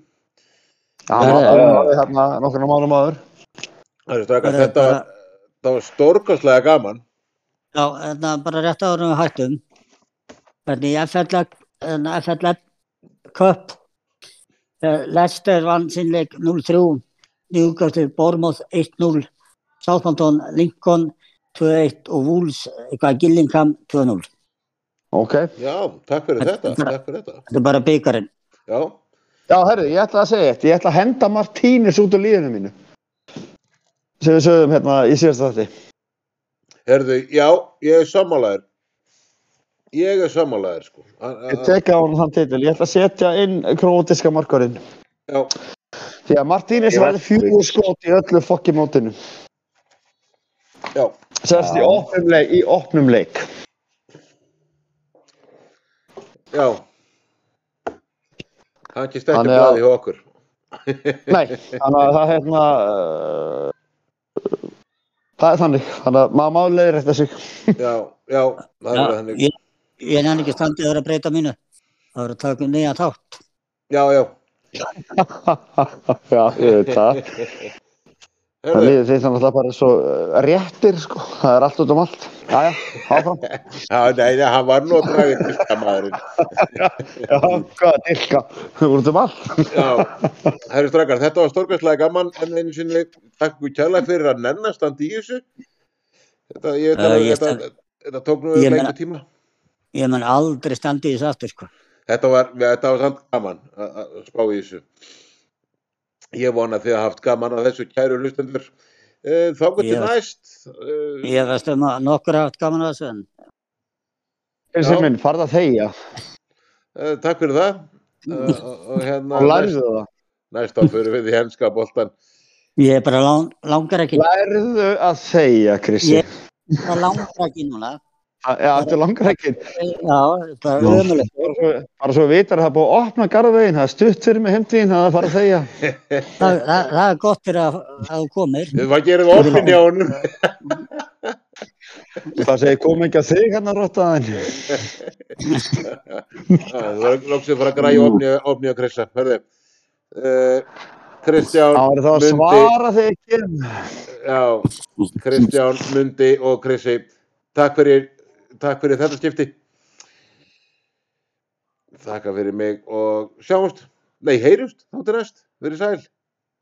S3: Hann var
S2: Já,
S3: hann
S4: já.
S3: hafði þarna nokkur mánum áður
S1: Það er strakar,
S2: Það er
S1: þetta var, það var stórkastlega gaman.
S2: já, hérna, bara rétt árum við hættum, hvernig ég fell að, hérna, ég fell að köpp, Lester eh, vann sinnleik 0-3, Newcastle, Bournemouth 1-0, Southampton, Lincoln 2-1 og Wolves, eitthvað Gillingham 2-0.
S3: Ok
S1: Já, takk fyrir
S2: Þetta-
S1: þetta,
S2: bara-
S1: takk fyrir þetta.
S2: Þetta er bara byggarinn.
S1: Já,
S3: Já, herru, ég ætla að segja eitt Ég ætla að henda Martínez út úr líðinu mínu sem við sögum hérna í síðasta þætti
S1: Herðu, já, ég er sammálaður. Ég er sammálaður, sko. Hann-
S3: Ég
S1: hann-
S3: teka á hann þann titil Ég ætla að setja inn krótiska markarinn
S1: Já,
S3: Því að Martínez
S4: Ég
S3: var
S4: veit.
S3: fjögur skot í öllu fokki mótinu.
S1: já,
S3: Sérst í
S4: Já.
S3: opnum leik, í opnum leik.
S1: já. Hann kýrst ekki
S3: Þannig að-
S1: blaði hjá okkur.
S3: Nei, þannig að það hérna... Uh, það er þannig, þannig að maður má leiðir þetta sig.
S1: Já, já, það er
S2: Já,
S1: þannig.
S2: ég ég nenni ekki standið að vera að breyta mínu. Það voru að taka um nýja þátt.
S1: Já, já.
S3: Já, ég veit það. Það
S1: Herðu,
S3: líður því þannig að bara svo eh, réttir, sko. Það er allt út um allt. Jæja, áfram.
S1: já, nei, nei, hann var nú að draga í fyrsta maðurinn.
S3: Já, hvað, dilka. Út um allt.
S1: Já, herru strakar, þetta var stórkastlega gaman en einu sinni, takk við kjærlega fyrir að nennast hann í þessu. Þetta, ég veit
S2: Já,
S1: alveg,
S2: ég
S1: þetta,
S2: stend-
S1: þetta tók nú
S2: Ég
S1: lengur
S2: meina-
S1: tíma.
S2: Ég menn aldrei standið þess aftur, sko.
S1: Þetta var, þetta var samt gaman að að spá í þessu. Ég vona að þið hafði haft gaman að þessu kæru hlustendur. Eh, Þá gott til
S2: Já.
S1: næst. Eh,
S2: Ég veist um að nokkur haft gaman að þessu en
S3: Þessi
S1: Já.
S3: minn, farð að þegja
S1: eh, Takk fyrir það. Eh, og- Og hérna,
S3: og
S1: næst-
S3: lærðu það.
S1: næst á fyrir við í henska boltan.
S2: ég bara lang, langar ekki,
S3: Lærðu að þegja, Kristi.
S2: Ég- það langar ekki núna.
S3: Já, þetta er langar ekki.
S2: Já, það er
S3: Já.
S2: ömulegt.
S3: Bara svo, bara svo vitar að það er búið að opna garðveginn, það er stutt fyrir mig heimtíðin, það er að fara að þegja.
S2: Það, það, það er gott fyrir að, að þú komir.
S1: Hvað gerir það opinn hjá honum?
S3: Það segir, kom ekki að þig hérna rottaðin.
S1: Já, Þú var loksum fara að græja opni, opni á Krissa. Hörðu, uh, Kristján,
S3: Það var það að
S1: Mundi,
S3: svara þig ekki.
S1: já, Kristján, Mundi og Krissi. Takk fyrir, takk fyrir þetta skipti. Takk fyrir mig og sjáumst. Nei, heyrumst, þá til næst. Verið sæl.